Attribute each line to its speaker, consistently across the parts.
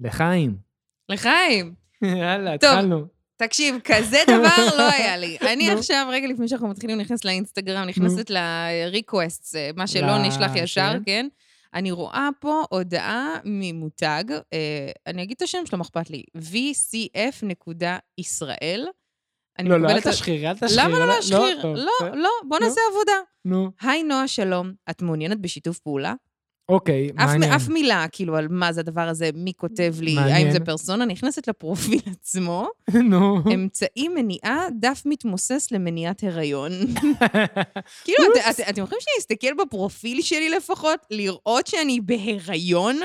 Speaker 1: לחיים.
Speaker 2: לחיים.
Speaker 1: יאללה,
Speaker 2: טוב.
Speaker 1: התחלנו.
Speaker 2: תקשיב, כזה דבר לא היה לי. אני
Speaker 1: נו.
Speaker 2: עכשיו, רגע לפני שאנחנו מתחילים להיכנס לאינסטגרם, נכנסת ל-requests, אה, מה שלא
Speaker 1: ל-
Speaker 2: נשלח ישר,
Speaker 1: כן.
Speaker 2: כן? אני רואה פה הודעה ממותג, אה, אני אגיד את השם שלו, מה אכפת לי, vcf.ישראל. אני
Speaker 1: לא, לא, אל
Speaker 2: מקבלת-
Speaker 1: תשחיר, אל תשחיר.
Speaker 2: למה לא להשחיר?
Speaker 1: טוב,
Speaker 2: לא,
Speaker 1: בסדר.
Speaker 2: לא, בוא
Speaker 1: נו.
Speaker 2: נעשה עבודה.
Speaker 1: נו,
Speaker 2: היי, נועה, שלום. את מעוניינת בשיתוף פעולה?
Speaker 1: אוקיי,
Speaker 2: אף,
Speaker 1: מעניין.
Speaker 2: אף מילה, כאילו, על מה זה הדבר הזה, מי כותב לי, האם
Speaker 1: מעניין.
Speaker 2: זה פרסונה, נכנסת לפרופיל עצמו.
Speaker 1: נו.
Speaker 2: Hmm? אמצעי מניעה, דף מתמוסס למניעת הריון. כאילו, את- את- אתם יכולים שאני אסתכל בפרופיל שלי לפחות, לראות שאני בהיריון?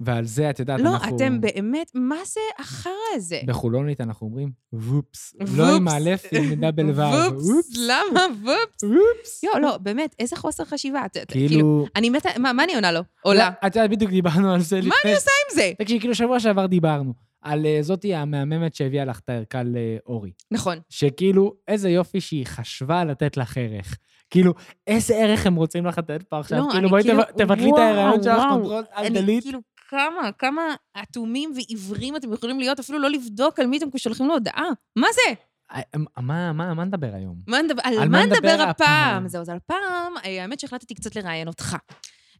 Speaker 1: ועל זה את יודעת,
Speaker 2: לא,
Speaker 1: אנחנו...
Speaker 2: אתם באמת, מה זה החרא הזה?
Speaker 1: בחולונית אנחנו אומרים וופס.
Speaker 2: וופס.
Speaker 1: לא עם א', עם דאבל ו'.
Speaker 2: וופס, למה וופס?
Speaker 1: וופס.
Speaker 2: יואו, לא, באמת, איזה חוסר חשיבה. את- את- כאילו,
Speaker 1: כאילו... לא,
Speaker 2: אני מתה, מה מה אני עונה לו? עולה.
Speaker 1: את יודעת, בדיוק דיברנו על זה
Speaker 2: מה
Speaker 1: לפני...
Speaker 2: אני עושה עם זה?
Speaker 1: תקשיבי, כאילו שבוע שעבר דיברנו על אה, זאתי המהממת שהביאה לך את הערכה לאורי.
Speaker 2: נכון.
Speaker 1: שכאילו, איזה יופי שהיא חשבה לתת לך ערך. כאילו, איזה ערך הם רוצים לך לתת פה עכשיו?
Speaker 2: לא,
Speaker 1: כאילו,
Speaker 2: אני
Speaker 1: בואי
Speaker 2: כאילו-
Speaker 1: תב- תבטלי את
Speaker 2: וואו,
Speaker 1: ההיריון שלך,
Speaker 2: וואו.
Speaker 1: קונטרול על
Speaker 2: אני
Speaker 1: דלית.
Speaker 2: כאילו, כמה, כמה אטומים ועיוורים אתם יכולים להיות, אפילו לא לבדוק על מי אתם שולחים לו הודעה. מה זה?
Speaker 1: אה, מה, מה, מה נדבר היום?
Speaker 2: מה נדבר, על,
Speaker 1: על
Speaker 2: מה
Speaker 1: מה
Speaker 2: נדבר
Speaker 1: נדבר
Speaker 2: הפעם?
Speaker 1: הפעם?
Speaker 2: זהו, אז הפעם, אה, האמת שהחלטתי קצת לראיין אותך.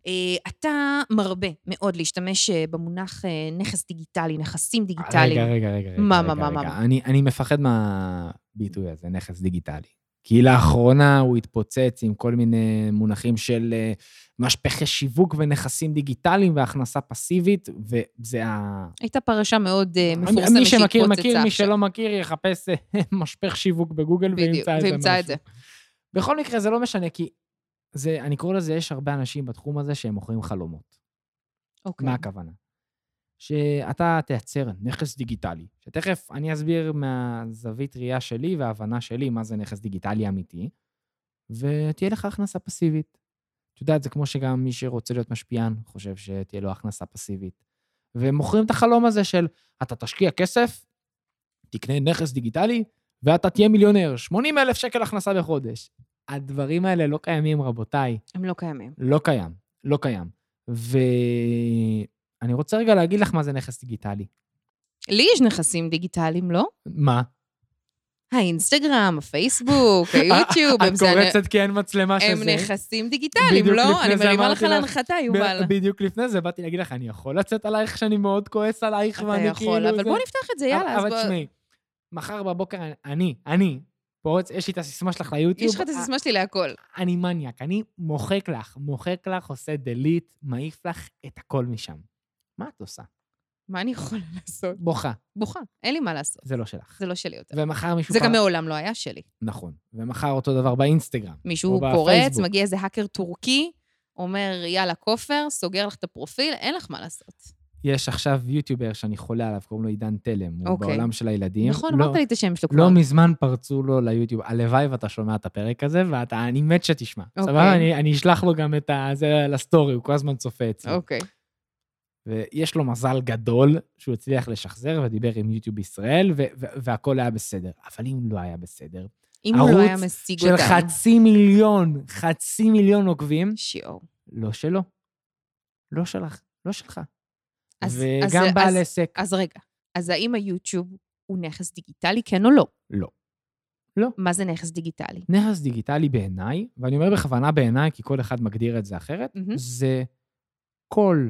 Speaker 2: אה, אתה מרבה מאוד להשתמש אה, במונח אה, נכס דיגיטלי, נכסים דיגיטליים.
Speaker 1: רגע, רגע, רגע. רגע,
Speaker 2: מה,
Speaker 1: רגע,
Speaker 2: מה, מה,
Speaker 1: רגע.
Speaker 2: מה?
Speaker 1: אני, אני מפחד מהביטוי הזה, נכס דיגיטלי. כי לאחרונה הוא התפוצץ עם כל מיני מונחים של אה, משפחי שיווק ונכסים דיגיטליים והכנסה פסיבית, וזה ה...
Speaker 2: הייתה פרשה מאוד אה, מפורסמת
Speaker 1: מי שמכיר,
Speaker 2: שהתפוצצה
Speaker 1: מכיר, מי
Speaker 2: עכשיו.
Speaker 1: שלא מכיר, יחפש אה, משפך שיווק בגוגל
Speaker 2: בדיוק,
Speaker 1: וימצא איזה
Speaker 2: וימצא את
Speaker 1: משהו.
Speaker 2: זה.
Speaker 1: בכל מקרה, זה לא משנה, כי זה, אני קורא לזה, יש הרבה אנשים בתחום הזה שהם מוכרים חלומות.
Speaker 2: אוקיי.
Speaker 1: מה הכוונה? שאתה תייצר נכס דיגיטלי, שתכף אני אסביר מהזווית ראייה שלי וההבנה שלי מה זה נכס דיגיטלי אמיתי, ותהיה לך הכנסה פסיבית. את יודעת, זה כמו שגם מי שרוצה להיות משפיען חושב שתהיה לו הכנסה פסיבית. ומוכרים את החלום הזה של אתה תשקיע כסף, תקנה נכס דיגיטלי, ואתה תהיה מיליונר, 80 אלף שקל הכנסה בחודש. הדברים האלה לא קיימים, רבותיי.
Speaker 2: הם לא קיימים.
Speaker 1: לא קיים, לא קיים. ואני רוצה רגע להגיד לך מה זה נכס דיגיטלי.
Speaker 2: לי יש נכסים דיגיטליים, לא?
Speaker 1: מה?
Speaker 2: האינסטגרם, הפייסבוק, היוטיוב, הם
Speaker 1: את
Speaker 2: זה-
Speaker 1: קורצת כי אין מצלמה
Speaker 2: הם
Speaker 1: שזה.
Speaker 2: נכסים דיגיטליים,
Speaker 1: בדיוק
Speaker 2: לא?
Speaker 1: לפני
Speaker 2: אני
Speaker 1: זה
Speaker 2: מרימה לך
Speaker 1: אמרתי לך,
Speaker 2: להנחתה, יובל.
Speaker 1: ב- בדיוק לפני זה באתי להגיד לך, אני יכול לצאת עלייך שאני מאוד כועס עלייך
Speaker 2: אתה
Speaker 1: ואני כאילו...
Speaker 2: יכול, אבל
Speaker 1: זה-
Speaker 2: בוא נפתח את זה, יאללה. אז
Speaker 1: אבל
Speaker 2: בוא-
Speaker 1: תשמעי, מחר בבוקר אני- אני, אני, פורץ, יש לי את הסיסמה שלך ליוטיוב. אה,
Speaker 2: יש לך את הסיסמה שלי להכל.
Speaker 1: אני מניאק, אני מוחק לך, מוחק לך, עושה delete, מעיף לך את הכל משם. מה את עושה?
Speaker 2: מה אני יכולה לעשות?
Speaker 1: בוכה,
Speaker 2: בוכה, אין לי מה לעשות.
Speaker 1: זה לא שלך.
Speaker 2: זה לא שלי יותר.
Speaker 1: ומחר מישהו...
Speaker 2: זה
Speaker 1: פרץ-
Speaker 2: גם מעולם לא היה שלי.
Speaker 1: נכון. ומחר אותו דבר באינסטגרם.
Speaker 2: מישהו
Speaker 1: או
Speaker 2: פורץ,
Speaker 1: בפייסבוק.
Speaker 2: מגיע איזה האקר טורקי, אומר, יאללה, כופר, סוגר לך את הפרופיל, אין לך מה לעשות.
Speaker 1: יש עכשיו יוטיובר שאני חולה עליו, קוראים לו עידן תלם, הוא
Speaker 2: אוקיי.
Speaker 1: בעולם של הילדים.
Speaker 2: נכון,
Speaker 1: לא-
Speaker 2: אמרת לי את השם שלו כבר.
Speaker 1: לא מזמן פרצו לו ליוטיוב. הלוואי ואתה שומע את הפרק הזה, ואתה, אני מת שתשמע.
Speaker 2: אוקיי.
Speaker 1: סבבה? אני- אני אשלח לו גם את ה- זה לסטורי, הוא כל הזמן צופה אצלי.
Speaker 2: אוקיי.
Speaker 1: ויש לו מזל גדול שהוא הצליח לשחזר ודיבר עם יוטיוב בישראל, ו- ו- והכל היה בסדר. אבל אם לא היה בסדר,
Speaker 2: אם הוא לא
Speaker 1: ערוץ
Speaker 2: היה משיג
Speaker 1: של
Speaker 2: אותנו.
Speaker 1: חצי מיליון, חצי מיליון עוקבים,
Speaker 2: שיעור.
Speaker 1: לא שלו. לא שלך, לא שלך.
Speaker 2: אז- אז-
Speaker 1: וגם בעל
Speaker 2: אז-
Speaker 1: עסק.
Speaker 2: אז רגע, אז האם היוטיוב הוא נכס דיגיטלי, כן או לא?
Speaker 1: לא.
Speaker 2: מה זה נכס דיגיטלי?
Speaker 1: נכס דיגיטלי בעיניי, ואני אומר בכוונה בעיניי, כי כל אחד מגדיר את זה אחרת,
Speaker 2: מהמם.
Speaker 1: זה כל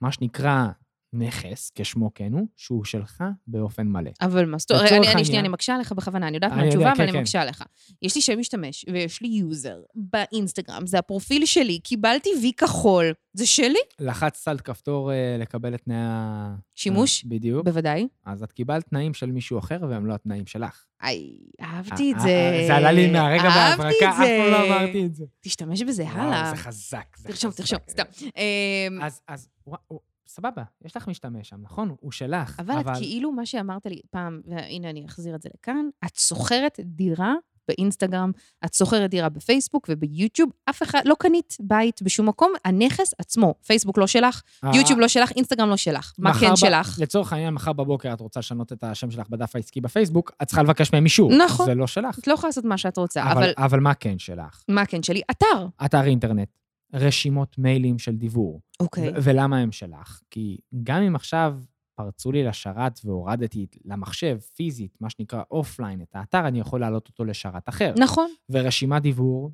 Speaker 1: מה שנקרא נכס, כשמו כן הוא, שהוא שלך באופן מלא.
Speaker 2: אבל מה זאת אומרת,
Speaker 1: לצורך
Speaker 2: אני- אני שנייה,
Speaker 1: העניין-
Speaker 2: אני מקשה עליך בכוונה, אני יודעת מה
Speaker 1: אני יודע,
Speaker 2: התשובה,
Speaker 1: כן,
Speaker 2: אבל אני
Speaker 1: כן.
Speaker 2: מקשה עליך. יש לי שם משתמש, ויש לי יוזר באינסטגרם, זה הפרופיל שלי, קיבלתי וי כחול, זה שלי?
Speaker 1: לחצת על כפתור אה, לקבל את תנאי ה...
Speaker 2: שימוש?
Speaker 1: אה, בדיוק.
Speaker 2: בוודאי.
Speaker 1: אז את קיבלת תנאים של מישהו אחר, והם לא התנאים שלך.
Speaker 2: איי, אהבתי את
Speaker 1: אה,
Speaker 2: זה.
Speaker 1: אה, זה עלה לי מהרגע
Speaker 2: אהבתי
Speaker 1: בהברקה,
Speaker 2: את
Speaker 1: אף פעם לא
Speaker 2: זה.
Speaker 1: אמרתי את זה.
Speaker 2: תשתמש בזה,
Speaker 1: וואו,
Speaker 2: הלאה.
Speaker 1: זה אה, חזק. זה
Speaker 2: תרשום,
Speaker 1: חזק.
Speaker 2: תרשום, סתם. אמ,
Speaker 1: אז, אז, וואו, סבבה, יש לך משתמש שם, נכון? הוא שלך.
Speaker 2: אבל את כאילו, מה שאמרת לי פעם, והנה אני אחזיר את זה לכאן, את שוכרת דירה באינסטגרם, את שוכרת דירה בפייסבוק וביוטיוב, אף אחד, לא קנית בית בשום מקום, הנכס עצמו, פייסבוק לא שלך,
Speaker 1: אה,
Speaker 2: יוטיוב לא שלך, אינסטגרם לא שלך. מה
Speaker 1: מחר
Speaker 2: כן
Speaker 1: ב-
Speaker 2: שלך?
Speaker 1: לצורך העניין, מחר בבוקר את רוצה לשנות את השם שלך בדף העסקי בפייסבוק, את צריכה לבקש מהם אישור.
Speaker 2: נכון.
Speaker 1: זה לא שלך.
Speaker 2: את לא יכולה לעשות מה שאת רוצה,
Speaker 1: אבל,
Speaker 2: אבל
Speaker 1: אבל מה כן שלך?
Speaker 2: מה כן שלי? אתר.
Speaker 1: אתר אינטרנט, רשימות מיילים של דיוור.
Speaker 2: אוקיי.
Speaker 1: ו- ולמה הם שלך? כי גם אם עכשיו פרצו לי לשרת והורדתי למחשב, פיזית, מה שנקרא אופליין, את האתר, אני יכול להעלות אותו לשרת אחר.
Speaker 2: נכון.
Speaker 1: ורשימת דיוור,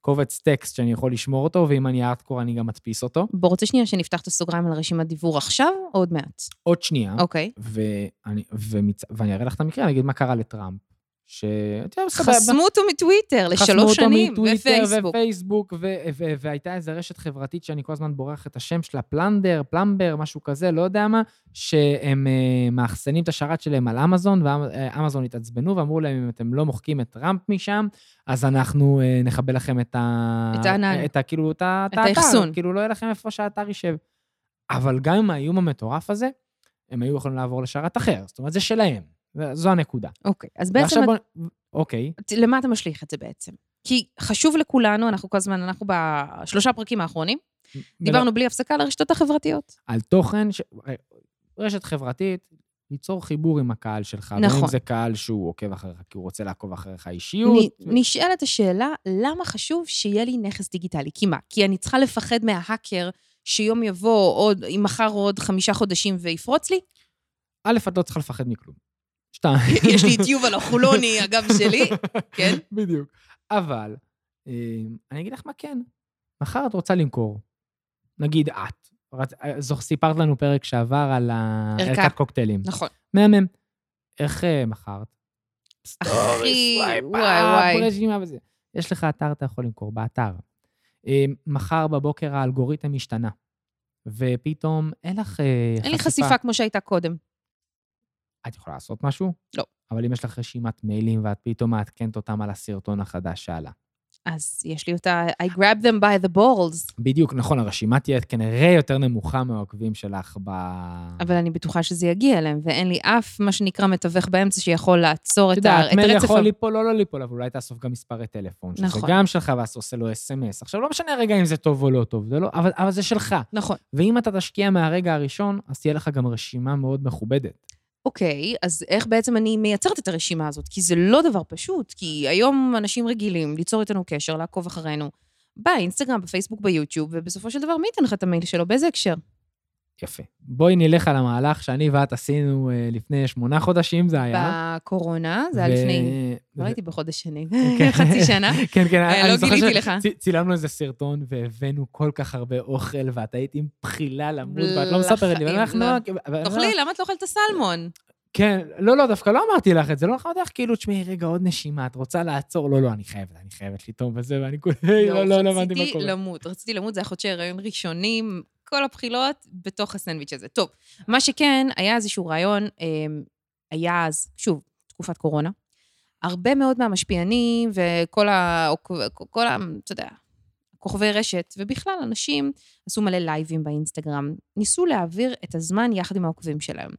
Speaker 1: קובץ טקסט שאני יכול לשמור אותו, ואם אני ארטקור אני גם מדפיס אותו.
Speaker 2: בוא, רוצה שנייה שנפתח את הסוגריים על רשימת דיוור עכשיו, או עוד מעט?
Speaker 1: עוד שנייה,
Speaker 2: אוקיי.
Speaker 1: ואני, ומצ... ואני אראה לך את המקרה, אני אגיד מה קרה לטראמפ. ש... אתה יודע, סבבה.
Speaker 2: חסמו אותו מטוויטר
Speaker 1: חסמו
Speaker 2: לשלוש
Speaker 1: אותו
Speaker 2: שנים,
Speaker 1: מטוויטר
Speaker 2: ופייסבוק.
Speaker 1: ופייסבוק, ו- ו- והייתה איזו רשת חברתית שאני כל הזמן בורח את השם שלה, פלנדר, פלמבר, משהו כזה, לא יודע מה, שהם אה, מאחסנים את השרת שלהם על אמזון, ואמזון התעצבנו ואמרו להם, אם אתם לא מוחקים את טראמפ משם, אז אנחנו אה, נכבה לכם את ה...
Speaker 2: את הענן.
Speaker 1: את ה... כאילו, את ה...
Speaker 2: את
Speaker 1: האתר,
Speaker 2: האחסון.
Speaker 1: כאילו, לא יהיה לכם איפה שהאתר יישב. אבל גם עם האיום המטורף הזה, הם היו יכולים לעבור לשרת אחר. זאת אומרת, זה שלהם. זה- זו הנקודה.
Speaker 2: אוקיי, אז בעצם
Speaker 1: ועכשיו בוא... אוקיי.
Speaker 2: את- למה אתה משליך את זה בעצם? כי חשוב לכולנו, אנחנו כל הזמן, אנחנו בשלושה פרקים האחרונים, דיברנו בלי הפסקה על הרשתות החברתיות.
Speaker 1: על תוכן, ש... רשת חברתית, ליצור חיבור עם הקהל שלך. נכון.
Speaker 2: נכון.
Speaker 1: אם זה קהל שהוא עוקב אחריך, כי הוא רוצה לעקוב אחריך
Speaker 2: נ-
Speaker 1: אישיות.
Speaker 2: נשאלת השאלה, למה חשוב שיהיה לי נכס דיגיטלי? כי מה? כי אני צריכה לפחד מההאקר שיום יבוא עוד, אם מחר עוד חמישה חודשים ויפרוץ לי?
Speaker 1: א', את לא צריכה לפחד מכלום. שתיים.
Speaker 2: יש לי את יובל החולוני, הגב שלי, כן?
Speaker 1: בדיוק. אבל, אה, אני אגיד לך מה כן. מחר את רוצה למכור. נגיד את. רצ... אה, זו סיפרת לנו פרק שעבר על ה-
Speaker 2: ערכה.
Speaker 1: ערכת קוקטיילים.
Speaker 2: נכון.
Speaker 1: מהמם. איך אה, מכרת?
Speaker 2: אחי,
Speaker 1: סטורי, סווייפ,
Speaker 2: וואי,
Speaker 1: אפ,
Speaker 2: וואי.
Speaker 1: רשימה וזה. יש לך אתר, אתה יכול למכור באתר. אה, מחר בבוקר האלגוריתם השתנה, ופתאום אין לך אה, חשיפה.
Speaker 2: אין לי חשיפה כמו שהייתה קודם.
Speaker 1: את יכולה לעשות משהו?
Speaker 2: לא.
Speaker 1: אבל אם יש לך רשימת מיילים ואת פתאום מעדכנת אותם על הסרטון החדש שעלה.
Speaker 2: אז יש לי אותה, I grab them by the balls,
Speaker 1: בדיוק, נכון, הרשימה תהיה כנראה יותר נמוכה מהעוקבים שלך ב...
Speaker 2: אבל אני בטוחה שזה יגיע אליהם, ואין לי אף, מה שנקרא, מתווך באמצע שיכול לעצור
Speaker 1: את
Speaker 2: את ה-
Speaker 1: יודעת,
Speaker 2: את
Speaker 1: מייל
Speaker 2: הרצף.
Speaker 1: יכול
Speaker 2: ה-
Speaker 1: ליפול, לא לא ליפול, אבל אולי תאסוף גם מספרי טלפון. שזה
Speaker 2: נכון.
Speaker 1: גם שלך, ואז אתה עושה לו אס.אם.אס. עכשיו, לא משנה רגע אם זה טוב או לא טוב, זה לא- אבל אבל זה שלך.
Speaker 2: נכון.
Speaker 1: ואם אתה תשקיע מהרגע הראשון, אז תהיה לך גם רשימה מאוד מכובדת.
Speaker 2: אוקיי, אז איך בעצם אני מייצרת את הרשימה הזאת? כי זה לא דבר פשוט, כי היום אנשים רגילים ליצור איתנו קשר, לעקוב אחרינו, באינסטגרם, בפייסבוק, ביוטיוב, ובסופו של דבר, מי ייתן לך את המייל שלו? באיזה הקשר?
Speaker 1: יפה. בואי נלך על המהלך שאני ואת עשינו אה, לפני שמונה חודשים, זה היה.
Speaker 2: בקורונה, זה
Speaker 1: ו-
Speaker 2: היה לפני...
Speaker 1: ו-
Speaker 2: לא הייתי בחודש שני,
Speaker 1: כן.
Speaker 2: חצי שנה.
Speaker 1: כן, כן,
Speaker 2: אה,
Speaker 1: אני
Speaker 2: לא
Speaker 1: זוכר
Speaker 2: גיליתי לך.
Speaker 1: צי- צילמנו איזה סרטון והבאנו כל כך הרבה אוכל, ואת היית עם בחילה למות, ואת לא מספרת לי.
Speaker 2: לחיים,
Speaker 1: ואני אומר לך,
Speaker 2: לא.
Speaker 1: נועה, אבל-
Speaker 2: תאכלי, למה את לא אוכלת את הסלמון?
Speaker 1: כן, לא, לא, דווקא לא אמרתי לך את זה, לא אמרתי לך, כאילו, תשמעי, רגע, עוד נשימה, את רוצה לעצור? לא, לא, אני חייבת, אני חייבת לטעום וזה, ואני כולי, לא, לא, לא הבנתי מה
Speaker 2: רציתי
Speaker 1: קורה.
Speaker 2: למות, רציתי למות, זה היה חודשי הריון ראשונים, כל הבחילות בתוך הסנדוויץ' הזה. טוב, מה שכן, היה איזשהו רעיון, אמ, היה אז, שוב, תקופת קורונה. הרבה מאוד מהמשפיענים וכל ה... כל ה... אתה יודע, כוכבי רשת, ובכלל, אנשים עשו מלא לייבים באינסטגרם, ניסו להעביר את הזמן יחד עם העוקבים שלהם.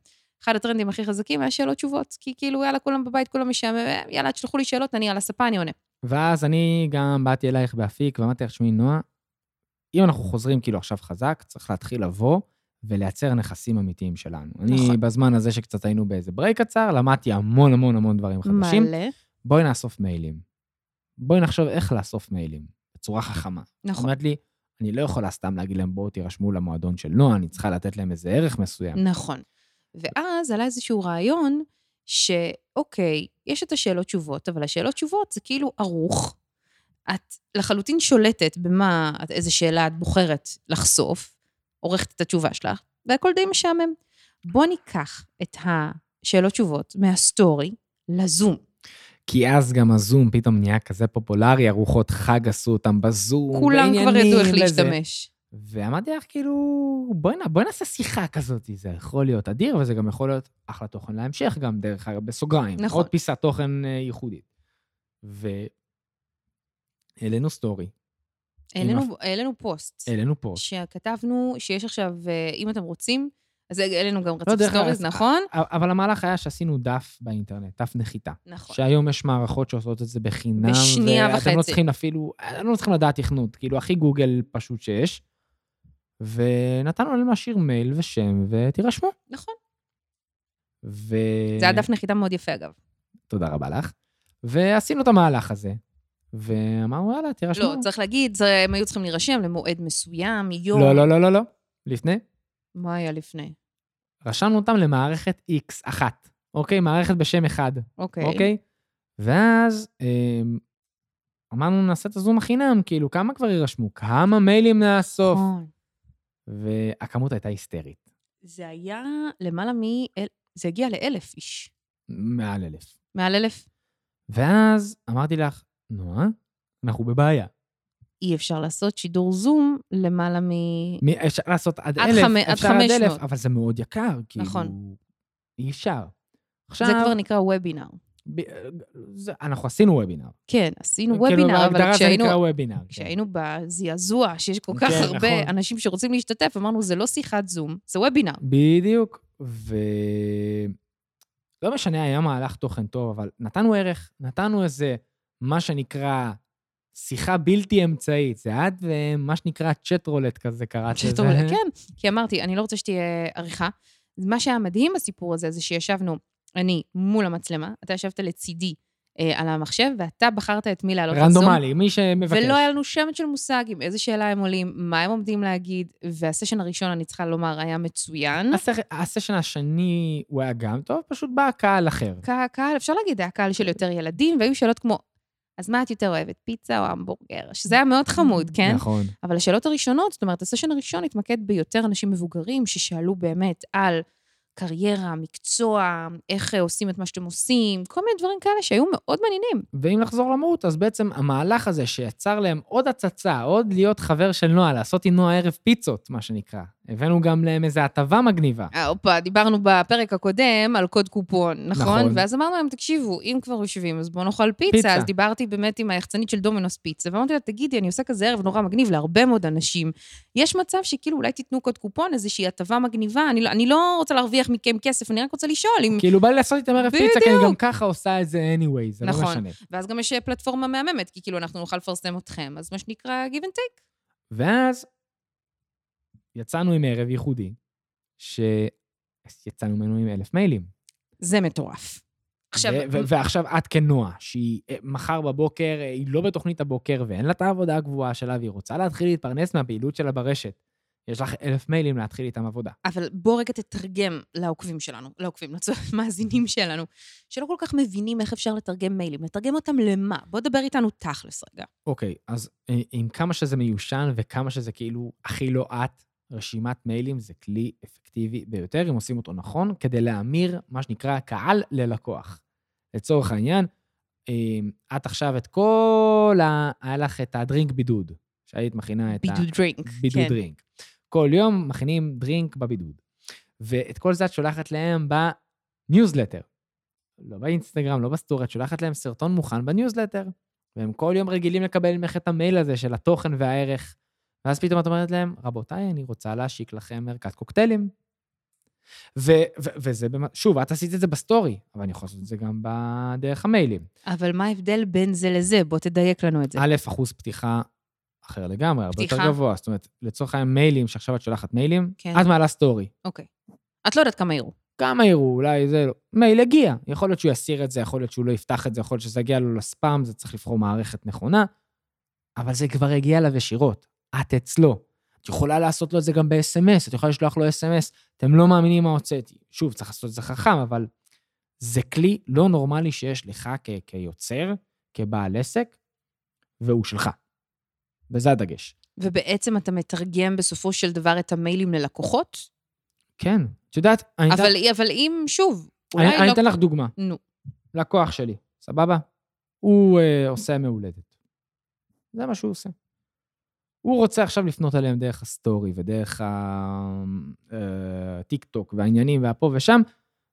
Speaker 2: אחד הטרנדים הכי חזקים היה שאלות תשובות, כי כאילו, יאללה, כולם בבית, כולם משעמם, יאללה, תשלחו לי שאלות, אני על הספה, אני עונה.
Speaker 1: ואז אני גם באתי אלייך באפיק ואמרתי לך, תשמעי, נועה, אם אנחנו חוזרים כאילו עכשיו חזק, צריך להתחיל לבוא ולייצר נכסים אמיתיים שלנו. נכון. אני
Speaker 2: נכון.
Speaker 1: בזמן הזה שקצת היינו באיזה ברייק קצר, למדתי המון המון המון דברים חדשים.
Speaker 2: מלא.
Speaker 1: בואי נאסוף מיילים. בואי נחשוב איך לאסוף מיילים, בצורה חכמה.
Speaker 2: נכון.
Speaker 1: אומרת לי, אני לא יכולה סתם להגיד להם, בואו תירשמו למועדון של נועה, אני צריכה לתת להם איזה ערך מסוים.
Speaker 2: נכון. ואז עלה איזשהו רעיון שאוקיי, יש את השאלות תשובות, אבל השאלות תשובות זה כאילו ערוך. את לחלוטין שולטת במה, את- איזה שאלה את בוחרת לחשוף, עורכת את התשובה שלך, והכל די משעמם. בוא ניקח את השאלות תשובות מהסטורי לזום.
Speaker 1: כי אז גם הזום פתאום נהיה כזה פופולרי, ארוחות חג עשו אותם בזום,
Speaker 2: כולם כבר
Speaker 1: בעניינים
Speaker 2: ידעו איך
Speaker 1: וזה.
Speaker 2: להשתמש.
Speaker 1: ואמרתי לך, כאילו, בואי נע- בואי נעשה שיחה כזאת, זה יכול להיות אדיר, וזה גם יכול להיות אחלה תוכן להמשך גם, דרך אגב, בסוגריים.
Speaker 2: נכון.
Speaker 1: עוד פיסת תוכן אה, ייחודית. והעלינו סטורי,
Speaker 2: העלינו- העלינו פוסט,
Speaker 1: העלינו פוסט.
Speaker 2: שכתבנו שיש עכשיו, אה, אם אתם רוצים, אז העלינו גם
Speaker 1: לא,
Speaker 2: רצוף
Speaker 1: דרך אגב,
Speaker 2: סטוריז, נכון?
Speaker 1: אבל המהלך היה שעשינו דף באינטרנט, דף נחיתה.
Speaker 2: נכון.
Speaker 1: שהיום יש מערכות שעושות את זה בחינם.
Speaker 2: בשנייה
Speaker 1: ואתם לא
Speaker 2: וחצי.
Speaker 1: צריכים אפילו, אתם לא צריכים לדעת תכנות, כאילו, הכי גוגל פשוט שיש. ונתנו להם להשאיר מייל ושם, ותירשמו.
Speaker 2: נכון.
Speaker 1: ו...
Speaker 2: זה היה דף נחיתה מאוד יפה, אגב.
Speaker 1: תודה רבה לך. ועשינו את המהלך הזה, ואמרנו, יאללה, תירשמו.
Speaker 2: לא, צריך להגיד, זה- הם היו צריכים להירשם למועד מסוים, יום.
Speaker 1: לא, לא, לא, לא, לא. לפני?
Speaker 2: מה היה לפני?
Speaker 1: רשמנו אותם למערכת X1, אוקיי? מערכת בשם אחד,
Speaker 2: אוקיי.
Speaker 1: אוקיי? ואז אמ, אמרנו, נעשה את הזום החינם, כאילו, כמה כבר יירשמו? כמה מיילים נאסוף?
Speaker 2: נכון.
Speaker 1: והכמות הייתה היסטרית,
Speaker 2: זה היה למעלה מ... אל- זה הגיע לאלף איש.
Speaker 1: מעל אלף.
Speaker 2: מעל אלף
Speaker 1: ואז אמרתי לך, נועה, אנחנו בבעיה.
Speaker 2: אי אפשר לעשות שידור זום למעלה מ...
Speaker 1: מי- אפשר לעשות עד
Speaker 2: עד
Speaker 1: אלף,
Speaker 2: חמ- עד
Speaker 1: אפשר עד
Speaker 2: 500.
Speaker 1: אלף, אבל זה מאוד יקר, כאילו...
Speaker 2: נכון.
Speaker 1: אי אפשר. עכשיו,
Speaker 2: זה כבר נקרא וובינר.
Speaker 1: ב... אה, זה... אנחנו עשינו וובינר.
Speaker 2: כן, עשינו
Speaker 1: כאילו,
Speaker 2: וובינר, אבל
Speaker 1: בהגדרה זה
Speaker 2: כשהיינו...
Speaker 1: נקרא וובינר. כן.
Speaker 2: כשהיינו בזעזוע, שיש כל כך
Speaker 1: כן,
Speaker 2: הרבה
Speaker 1: נכון.
Speaker 2: אנשים שרוצים להשתתף, אמרנו, זה לא שיחת זום, זה וובינר.
Speaker 1: בדיוק, ו... לא משנה, היה מהלך תוכן טוב, אבל נתנו ערך, נתנו איזה, מה שנקרא, שיחה בלתי אמצעית. זה את ומה שנקרא צ'ט רולט כזה, קראת לזה. אה?
Speaker 2: שטוב, כן, כי אמרתי, אני לא רוצה שתהיה עריכה. מה שהיה מדהים בסיפור הזה, זה שישבנו, אני מול המצלמה, אתה ישבת לצידי אה, על המחשב, ואתה בחרת את מי להעלות לזום.
Speaker 1: רנדומלי, מי שמבקש.
Speaker 2: ולא היה לנו שמץ של מושג עם איזה שאלה הם עולים, מה הם עומדים להגיד, והסשן הראשון, אני צריכה לומר, היה מצוין.
Speaker 1: הסש- הסשן השני, הוא היה גם טוב, פשוט בא קהל אחר.
Speaker 2: קה- קהל, אפשר להגיד, היה קהל של יותר ילדים, והיו שאלות כמו, אז מה את יותר אוהבת, פיצה או המבורגר? שזה היה מאוד חמוד, כן?
Speaker 1: נכון.
Speaker 2: אבל השאלות הראשונות, זאת אומרת, הסשן הראשון התמקד ביותר אנשים מבוגרים ששאלו באמת על קריירה, מקצוע, איך אה, עושים את מה שאתם עושים, כל מיני דברים כאלה שהיו מאוד מעניינים.
Speaker 1: ואם לחזור למהות, אז בעצם המהלך הזה שיצר להם עוד הצצה, עוד להיות חבר של נועה, לעשות עם נועה ערב פיצות, מה שנקרא. הבאנו גם להם איזו הטבה מגניבה.
Speaker 2: אה, הופה, דיברנו בפרק הקודם על קוד קופון, נכון?
Speaker 1: נכון.
Speaker 2: נכון. ואז אמרנו להם, תקשיבו, אם כבר יושבים, אז בואו נאכל פיצה.
Speaker 1: פיצה.
Speaker 2: פיצה. אז דיברתי באמת עם היחצנית של דומינוס פיצה, ואמרתי לה, תגידי, אני עושה כזה ערב נורא מגניב להרבה מאוד אנשים. יש מצב שכאילו אולי תיתנו קוד קופון, איזושהי הטבה מגניבה, אני לא, אני לא רוצה להרוויח מכם כסף, אני רק רוצה לשאול אם
Speaker 1: כאילו, בא לי לעשות איתם ערב פיצה, כי אני
Speaker 2: בדיוק.
Speaker 1: גם ככה עושה את זה anyway, זה לא
Speaker 2: נכון.
Speaker 1: משנה.
Speaker 2: ואז גם יש פלטפורמה מהממת, כי כאילו אנחנו נוכל לפרסם אתכם, אז מה שנקרא give and take.
Speaker 1: ואז יצאנו עם ערב ייחודי, שיצאנו ממנו עם אלף מיילים.
Speaker 2: זה מטורף. עכשיו,
Speaker 1: ו- ו- ועכשיו את כנועה, שהיא אה, מחר בבוקר, אה, היא לא בתוכנית הבוקר ואין לה את העבודה הגבוהה שלה, והיא רוצה להתחיל להתפרנס מהפעילות שלה ברשת. יש לך אלף מיילים להתחיל איתם עבודה.
Speaker 2: אבל בוא רגע תתרגם לעוקבים שלנו, לעוקבים, למאזינים שלנו, שלא כל כך מבינים איך אפשר לתרגם מיילים, לתרגם אותם למה? בוא דבר איתנו תכלס רגע.
Speaker 1: אוקיי, אז אה, עם כמה שזה מיושן וכמה שזה כאילו הכי לא את, רשימת מיילים זה כלי אפקטיבי ביותר, אם עושים אותו נכון, כדי להמיר מה שנקרא קהל ללקוח. לצורך העניין, אה, את עכשיו את כל ה... היה לך את הדרינק בידוד, שהיית מכינה אה, את ה...
Speaker 2: בידוד דרינק.
Speaker 1: בידוד
Speaker 2: כן.
Speaker 1: דרינק. כל יום מכינים דרינק בבידוד. ואת כל זה את שולחת להם בניוזלטר. לא באינסטגרם, לא בסטורי, את שולחת להם סרטון מוכן בניוזלטר. והם כל יום רגילים לקבל ממך את המייל הזה של התוכן והערך. ואז פתאום את אומרת להם, רבותיי, אני רוצה להשיק לכם ערכת קוקטיילים. ו- ו- וזה, במ- שוב, את עשית את זה בסטורי, אבל אני יכול לעשות את זה גם בדרך המיילים.
Speaker 2: אבל מה ההבדל בין זה לזה? בוא תדייק לנו את זה.
Speaker 1: א', אחוז פתיחה אחר לגמרי, הרבה יותר
Speaker 2: פתיחה?
Speaker 1: גבוה. זאת אומרת, לצורך העניין מיילים, שעכשיו את שולחת מיילים,
Speaker 2: כן.
Speaker 1: את מעלה סטורי.
Speaker 2: אוקיי. את לא יודעת כמה יראו.
Speaker 1: כמה יראו, אולי זה לא. מייל הגיע. יכול להיות שהוא יסיר את זה, יכול להיות שהוא לא יפתח את זה, יכול להיות שזה יגיע לו לספאם, זה צריך לבחור מערכת נכונה, אבל זה כבר הגיע אליו ישירות. את אצלו. את יכולה לעשות לו את זה גם ב-SMS, את יכולה לשלוח לו SMS, אתם לא מאמינים מה הוצאתי. שוב, צריך לעשות את זה חכם, אבל זה כלי לא נורמלי שיש לך כ- כיוצר, כבעל עסק, והוא שלך. וזה הדגש.
Speaker 2: ובעצם אתה מתרגם בסופו של דבר את המיילים ללקוחות?
Speaker 1: כן. את יודעת, אני,
Speaker 2: אבל,
Speaker 1: אתן,
Speaker 2: אבל אם, שוב, אולי
Speaker 1: אני, אני
Speaker 2: לא...
Speaker 1: אתן לך דוגמה.
Speaker 2: נו,
Speaker 1: לקוח שלי, סבבה? הוא אה, עושה מהולדת. זה מה שהוא עושה. הוא רוצה עכשיו לפנות אליהם דרך הסטורי ודרך הטיק טוק והעניינים והפה ושם,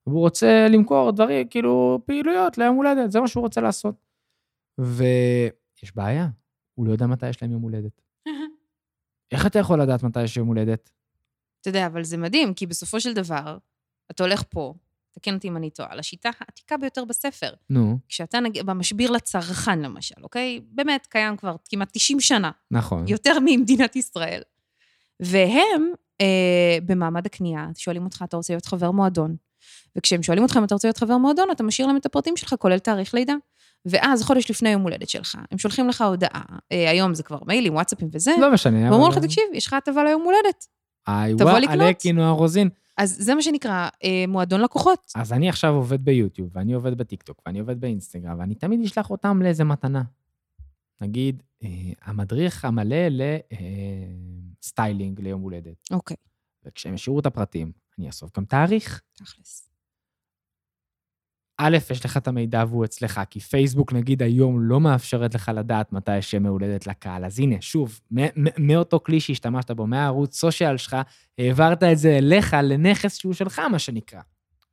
Speaker 1: והוא רוצה למכור דברים, כאילו, פעילויות ליום הולדת, זה מה שהוא רוצה לעשות. ויש בעיה, הוא לא יודע מתי יש להם יום הולדת. איך אתה יכול לדעת מתי יש יום הולדת?
Speaker 2: אתה יודע, אבל זה מדהים, כי בסופו של דבר, אתה הולך פה, תקן אותי אם אני טועה, לשיטה העתיקה ביותר בספר.
Speaker 1: נו,
Speaker 2: כשאתה נגיד, במשביר לצרכן למשל, אוקיי? באמת, קיים כבר כמעט 90 שנה,
Speaker 1: נכון.
Speaker 2: יותר ממדינת ישראל. והם, אה, במעמד הקנייה, שואלים אותך, אתה רוצה להיות חבר מועדון. וכשהם שואלים אותך אם אתה רוצה להיות חבר מועדון, אתה משאיר להם את הפרטים שלך, כולל תאריך לידה. ואז, חודש לפני יום הולדת שלך, הם שולחים לך הודעה, אה, היום זה כבר מיילים, וואטסאפים וזה,
Speaker 1: לא משנה.
Speaker 2: ואומרים
Speaker 1: אבל-
Speaker 2: לך, תקשיב, יש לך הטבה ליום הולדת.
Speaker 1: היי,
Speaker 2: תבוא
Speaker 1: וואי,
Speaker 2: לקנות.
Speaker 1: עלק, כינוע רוזין.
Speaker 2: אז זה מה שנקרא אה, מועדון לקוחות.
Speaker 1: אז אני עכשיו עובד ביוטיוב, ואני עובד בטיקטוק, ואני עובד באינסטגרם, ואני תמיד אשלח אותם לאיזה מתנה. נגיד, אה, המדריך המלא לסטיילינג ליום הולדת.
Speaker 2: אוקיי,
Speaker 1: וכשהם ישאירו את הפרטים, אני אאסוף גם תאריך.
Speaker 2: תכלס.
Speaker 1: א', יש לך את המידע והוא אצלך, כי פייסבוק, נגיד, היום לא מאפשרת לך לדעת מתי יש יום הולדת לקהל. אז הנה, שוב, מ- מ- מאותו כלי שהשתמשת בו, מהערוץ סושיאל שלך, העברת את זה אליך, לנכס שהוא שלך, מה שנקרא,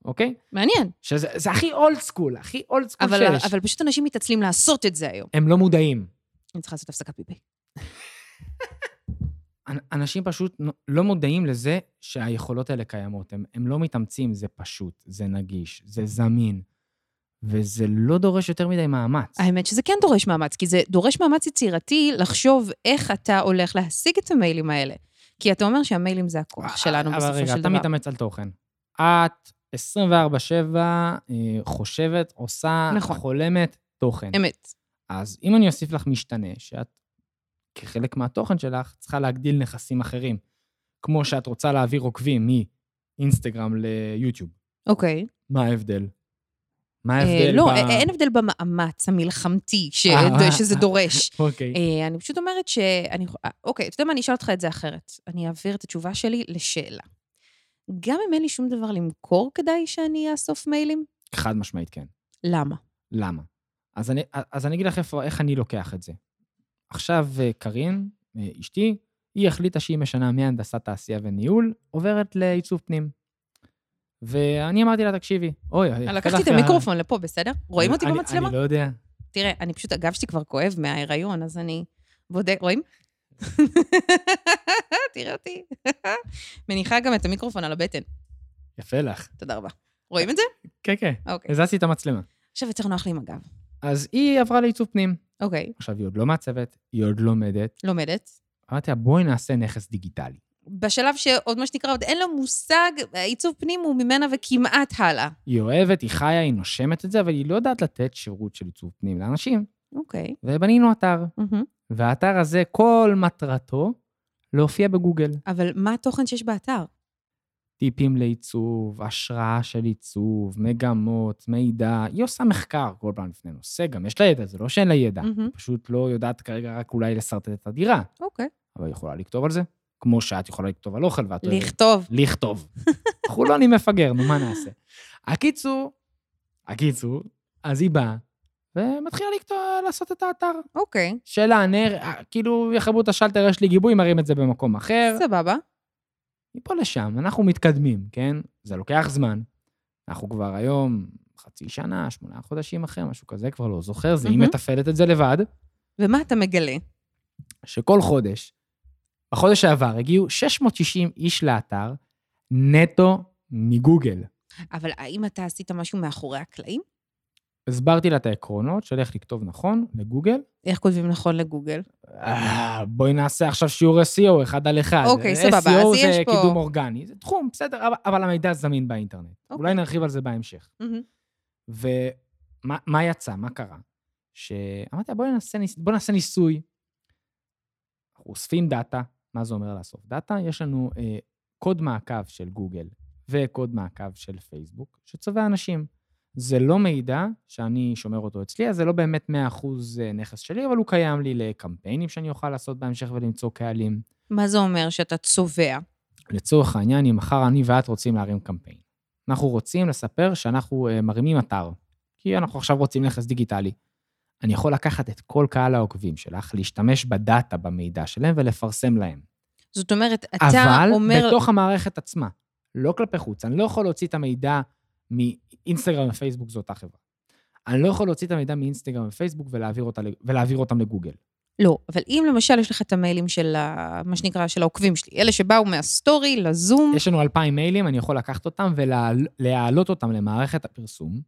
Speaker 1: אוקיי?
Speaker 2: מעניין,
Speaker 1: שזה זה הכי אולד סקול, הכי אולד סקול
Speaker 2: אבל,
Speaker 1: שיש.
Speaker 2: אבל פשוט אנשים מתעצלים לעשות את זה היום.
Speaker 1: הם לא מודעים.
Speaker 2: אני צריכה לעשות הפסקת פיפי.
Speaker 1: אנ- אנשים פשוט נו- לא מודעים לזה שהיכולות האלה קיימות. הם, הם לא מתאמצים, זה פשוט, זה נגיש, זה זמין, וזה לא דורש יותר מדי מאמץ.
Speaker 2: האמת שזה כן דורש מאמץ, כי זה דורש מאמץ יצירתי לחשוב איך אתה הולך להשיג את המיילים האלה. כי אתה אומר שהמיילים זה הכוח שלנו בסופו
Speaker 1: אבל רגע,
Speaker 2: של
Speaker 1: אתה
Speaker 2: דבר.
Speaker 1: מתאמץ על תוכן. את 24/7 אה, חושבת, עושה,
Speaker 2: נכון.
Speaker 1: חולמת תוכן.
Speaker 2: אמת.
Speaker 1: אז אם אני אוסיף לך משתנה, שאת כחלק מהתוכן שלך צריכה להגדיל נכסים אחרים, כמו שאת רוצה להעביר עוקבים מאינסטגרם ליוטיוב,
Speaker 2: אוקיי.
Speaker 1: מה ההבדל? מה
Speaker 2: אה,
Speaker 1: ההבדל
Speaker 2: לא,
Speaker 1: ב...
Speaker 2: אה, אין הבדל במאמץ המלחמתי ש-
Speaker 1: אה,
Speaker 2: שזה
Speaker 1: אה,
Speaker 2: דורש.
Speaker 1: אוקיי.
Speaker 2: אה, אני פשוט אומרת ש... אני... אה, אוקיי, אתה יודע מה, אני אשאל אותך את זה אחרת. אני אעביר את התשובה שלי לשאלה. גם אם אין לי שום דבר למכור, כדאי שאני אאסוף מיילים?
Speaker 1: חד משמעית כן.
Speaker 2: למה?
Speaker 1: למה? אז אני, אה, אז אני אגיד לך איפה, איך אני לוקח את זה. עכשיו אה, קארין, אה, אשתי, היא החליטה שהיא משנה מהנדסת תעשייה וניהול, עוברת לעיצוב פנים. ואני אמרתי לה, תקשיבי, אוי, יפה
Speaker 2: אה, לקחתי את
Speaker 1: לך כן, ה-
Speaker 2: המיקרופון לפה, בסדר? רואים אותי
Speaker 1: אני-
Speaker 2: במצלמה?
Speaker 1: אני לא יודע.
Speaker 2: תראה, אני פשוט, הגב שלי כבר כואב מההיריון, אז אני בודק, רואים? תראה אותי. מניחה גם את המיקרופון על הבטן.
Speaker 1: יפה לך.
Speaker 2: תודה רבה. רואים את זה?
Speaker 1: כן, כן.
Speaker 2: אוקיי.
Speaker 1: הזזתי את המצלמה.
Speaker 2: עכשיו יותר נוח לי עם הגב.
Speaker 1: אז היא עברה לעיצוב פנים.
Speaker 2: אוקיי.
Speaker 1: עכשיו, היא עוד לא מעצבת, היא עוד לומדת.
Speaker 2: לומדת.
Speaker 1: אמרתי לה, בואי נעשה נכס דיגיטלי.
Speaker 2: בשלב שעוד מה שנקרא, עוד אין לו מושג, עיצוב פנים הוא ממנה וכמעט הלאה.
Speaker 1: היא אוהבת, היא חיה, היא נושמת את זה, אבל היא לא יודעת לתת שירות של עיצוב פנים לאנשים.
Speaker 2: אוקיי.
Speaker 1: ובנינו אתר.
Speaker 2: מהמם.
Speaker 1: והאתר הזה, כל מטרתו להופיע בגוגל.
Speaker 2: אבל מה התוכן שיש באתר?
Speaker 1: טיפים לעיצוב, השראה של עיצוב, מגמות, מידע. היא עושה מחקר כל פעם לפני נושא, גם יש לה ידע, זה לא שאין לה ידע.
Speaker 2: מהמם.
Speaker 1: היא פשוט לא יודעת כרגע רק אולי לשרטט את הדירה,
Speaker 2: אוקיי.
Speaker 1: אבל היא יכולה לכתוב על זה, כמו שאת יכולה לכתוב על אוכל ואת לא אוהבת.
Speaker 2: לכתוב.
Speaker 1: לכתוב. חולון היא מפגר, נו, מה נעשה? הקיצור, הקיצור, אז היא באה, ומתחילה לכתוב, לעשות את האתר.
Speaker 2: אוקיי.
Speaker 1: שאלה, נר, כאילו, יחברו את השלטר, יש לי גיבוי, מראים את זה במקום אחר.
Speaker 2: סבבה.
Speaker 1: מפה לשם, אנחנו מתקדמים, כן? זה לוקח זמן. אנחנו כבר היום חצי שנה, שמונה חודשים אחרי, משהו כזה, כבר לא זוכר, זה היא
Speaker 2: מהמם.
Speaker 1: מתפעלת את זה לבד,
Speaker 2: ומה אתה מגלה?
Speaker 1: שכל חודש, בחודש שעבר הגיעו 660 איש לאתר, נטו מגוגל.
Speaker 2: אבל האם אתה עשית משהו מאחורי הקלעים?
Speaker 1: הסברתי לה את העקרונות של איך לכתוב נכון לגוגל.
Speaker 2: איך כותבים נכון לגוגל?
Speaker 1: אה, בואי נעשה עכשיו שיעור SEO אחד על אחד.
Speaker 2: אוקיי, סבבה, אז
Speaker 1: SEO
Speaker 2: יש
Speaker 1: זה
Speaker 2: פה-
Speaker 1: קידום אורגני, זה תחום, בסדר, אבל- אבל המידע זמין באינטרנט.
Speaker 2: אוקיי.
Speaker 1: אולי נרחיב על זה בהמשך.
Speaker 2: מהמם.
Speaker 1: ומה מה יצא? מה קרה? שאמרתי לה, בואי נעשה, ניס... בוא נעשה ניסוי. אנחנו אוספים דאטה, מה זה אומר לאסוף דאטה? יש לנו אה, קוד מעקב של גוגל וקוד מעקב של פייסבוק שצובע אנשים. זה לא מידע שאני שומר אותו אצלי, אז זה לא באמת 100% נכס שלי, אבל הוא קיים לי לקמפיינים שאני אוכל לעשות בהמשך ולמצוא קהלים.
Speaker 2: מה זה אומר שאתה צובע?
Speaker 1: לצורך העניין, אם מחר אני ואת רוצים להרים קמפיין. אנחנו רוצים לספר שאנחנו אה, מרימים אתר, כי אנחנו עכשיו רוצים נכס דיגיטלי. אני יכול לקחת את כל קהל העוקבים שלך, להשתמש בדאטה, במידע שלהם ולפרסם להם.
Speaker 2: זאת אומרת, אתה
Speaker 1: אבל
Speaker 2: אומר...
Speaker 1: בתוך המערכת עצמה, לא כלפי חוץ. אני לא יכול להוציא את המידע מאינסטגרם ופייסבוק, זו אותה חברה. אני לא יכול להוציא את המידע מאינסטגרם ופייסבוק ולהעביר, אותה, לג- ולהעביר אותם לגוגל.
Speaker 2: לא, אבל אם למשל יש לך את המיילים של ה... מה שנקרא, של העוקבים שלי, אלה שבאו מהסטורי לזום,
Speaker 1: יש לנו 2,000 מיילים, אני יכול לקחת אותם ולהעלות אותם למערכת הפרסום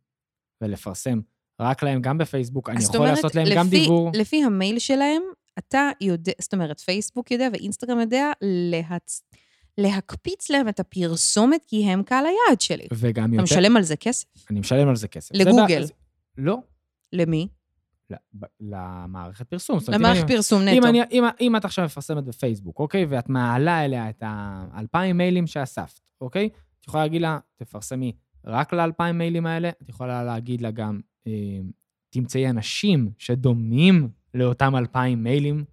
Speaker 1: ולפרסם רק להם, גם בפייסבוק, אני
Speaker 2: אז זאת
Speaker 1: יכול
Speaker 2: אומרת,
Speaker 1: לעשות להם גם דיבור.
Speaker 2: לפי המייל שלהם, אתה יודע, זאת אומרת, פייסבוק יודע ואינסטגרם יודע להצ... להקפיץ להם את הפרסומת, כי הם קהל היעד שלי.
Speaker 1: וגם
Speaker 2: אתה
Speaker 1: יותר,
Speaker 2: משלם על זה כסף?
Speaker 1: אני משלם על זה כסף. זה
Speaker 2: לגוגל.
Speaker 1: בא- זה- לא,
Speaker 2: למי?
Speaker 1: ל- ב- למערכת פרסום. זאת אומרת, אם
Speaker 2: למערכת
Speaker 1: אני-
Speaker 2: פרסום
Speaker 1: אם,
Speaker 2: נטו.
Speaker 1: אני, אם, אם את עכשיו מפרסמת בפייסבוק, אוקיי? ואת מעלה אליה את ה-2,000 מיילים שאספת, אוקיי? את יכולה להגיד לה, תפרסמי רק ל-2,000 מיילים האלה, את יכולה להגיד לה גם, אה, תמצאי אנשים שדומים לאותם 2,000 מיילים,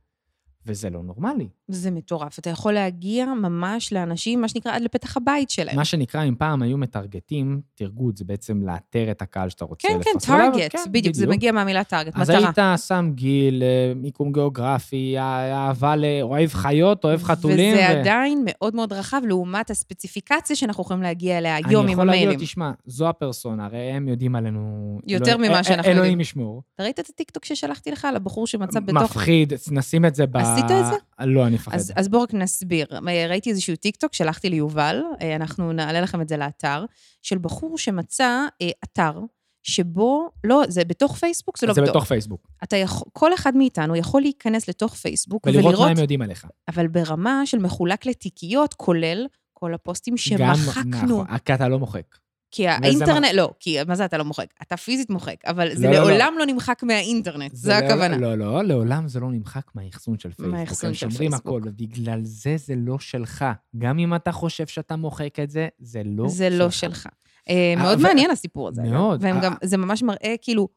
Speaker 1: וזה לא נורמלי.
Speaker 2: זה מטורף. אתה יכול להגיע ממש לאנשים, מה שנקרא, עד לפתח הבית שלהם.
Speaker 1: מה שנקרא, אם פעם היו מטרגטים, טרגוט זה בעצם לאתר את הקהל שאתה רוצה
Speaker 2: כן, כן,
Speaker 1: לפרסם. אולי-
Speaker 2: טארגט, בדיוק, זה מגיע מהמילה טארגט,
Speaker 1: אז
Speaker 2: מטרה.
Speaker 1: היית שם גיל, אה, מיקום גיאוגרפי, אה, אהבה ל... אוהב חיות, אוהב חתולים.
Speaker 2: וזה
Speaker 1: ו-
Speaker 2: עדיין מאוד מאוד רחב לעומת הספציפיקציה שאנחנו יכולים להגיע אליה היום
Speaker 1: אני
Speaker 2: עם
Speaker 1: יכול להגיד
Speaker 2: המיילים.
Speaker 1: לו, תשמע, זו הפרסונה, הרי הם יודעים עלינו...
Speaker 2: יותר
Speaker 1: אלוהים-
Speaker 2: ממה
Speaker 1: אה,
Speaker 2: שאנחנו יודעים.
Speaker 1: אלוהים ישמור.
Speaker 2: אתה ראית את הטיקטוק ששלחתי לך על הבחור שמצא בתוך...
Speaker 1: מפחיד, נשים את זה ב...
Speaker 2: עשית את זה?
Speaker 1: לא, אני מפחד.
Speaker 2: אז, אז בואו רק נסביר. אה, ראיתי איזשהו טיקטוק, שלחתי ליובל, אה, אנחנו נעלה לכם את זה לאתר, של בחור שמצא אה, אתר שבו, לא, זה בתוך פייסבוק, זה לא
Speaker 1: זה
Speaker 2: בתוך.
Speaker 1: בתוך פייסבוק.
Speaker 2: אתה יכול, כל אחד מאיתנו יכול להיכנס לתוך פייסבוק
Speaker 1: ולראות מה הם יודעים עליך.
Speaker 2: אבל ברמה של מחולק לתיקיות, כולל כל הפוסטים
Speaker 1: גם-
Speaker 2: שמחקנו.
Speaker 1: נכון, כי אתה לא מוחק.
Speaker 2: כי
Speaker 1: וזה
Speaker 2: האינטרנט, לא, כי מה זה אתה לא מוחק? אתה פיזית מוחק, אבל זה
Speaker 1: לא, לא, לא.
Speaker 2: לעולם לא נמחק מהאינטרנט, זו
Speaker 1: לעולם-
Speaker 2: הכוונה.
Speaker 1: לא, לא, לעולם זה לא נמחק מהאחסון של פייסבוק.
Speaker 2: מהאחסון של
Speaker 1: הם שומרים
Speaker 2: פייסבוק.
Speaker 1: הכל, ובגלל זה זה לא שלך. גם אם אתה חושב שאתה מוחק את זה, זה לא שלך.
Speaker 2: זה לא שלך. אה,
Speaker 1: אה,
Speaker 2: מאוד
Speaker 1: ו-
Speaker 2: מעניין הסיפור הזה. אגב.
Speaker 1: מאוד.
Speaker 2: והם
Speaker 1: אה,
Speaker 2: גם, זה ממש מראה כאילו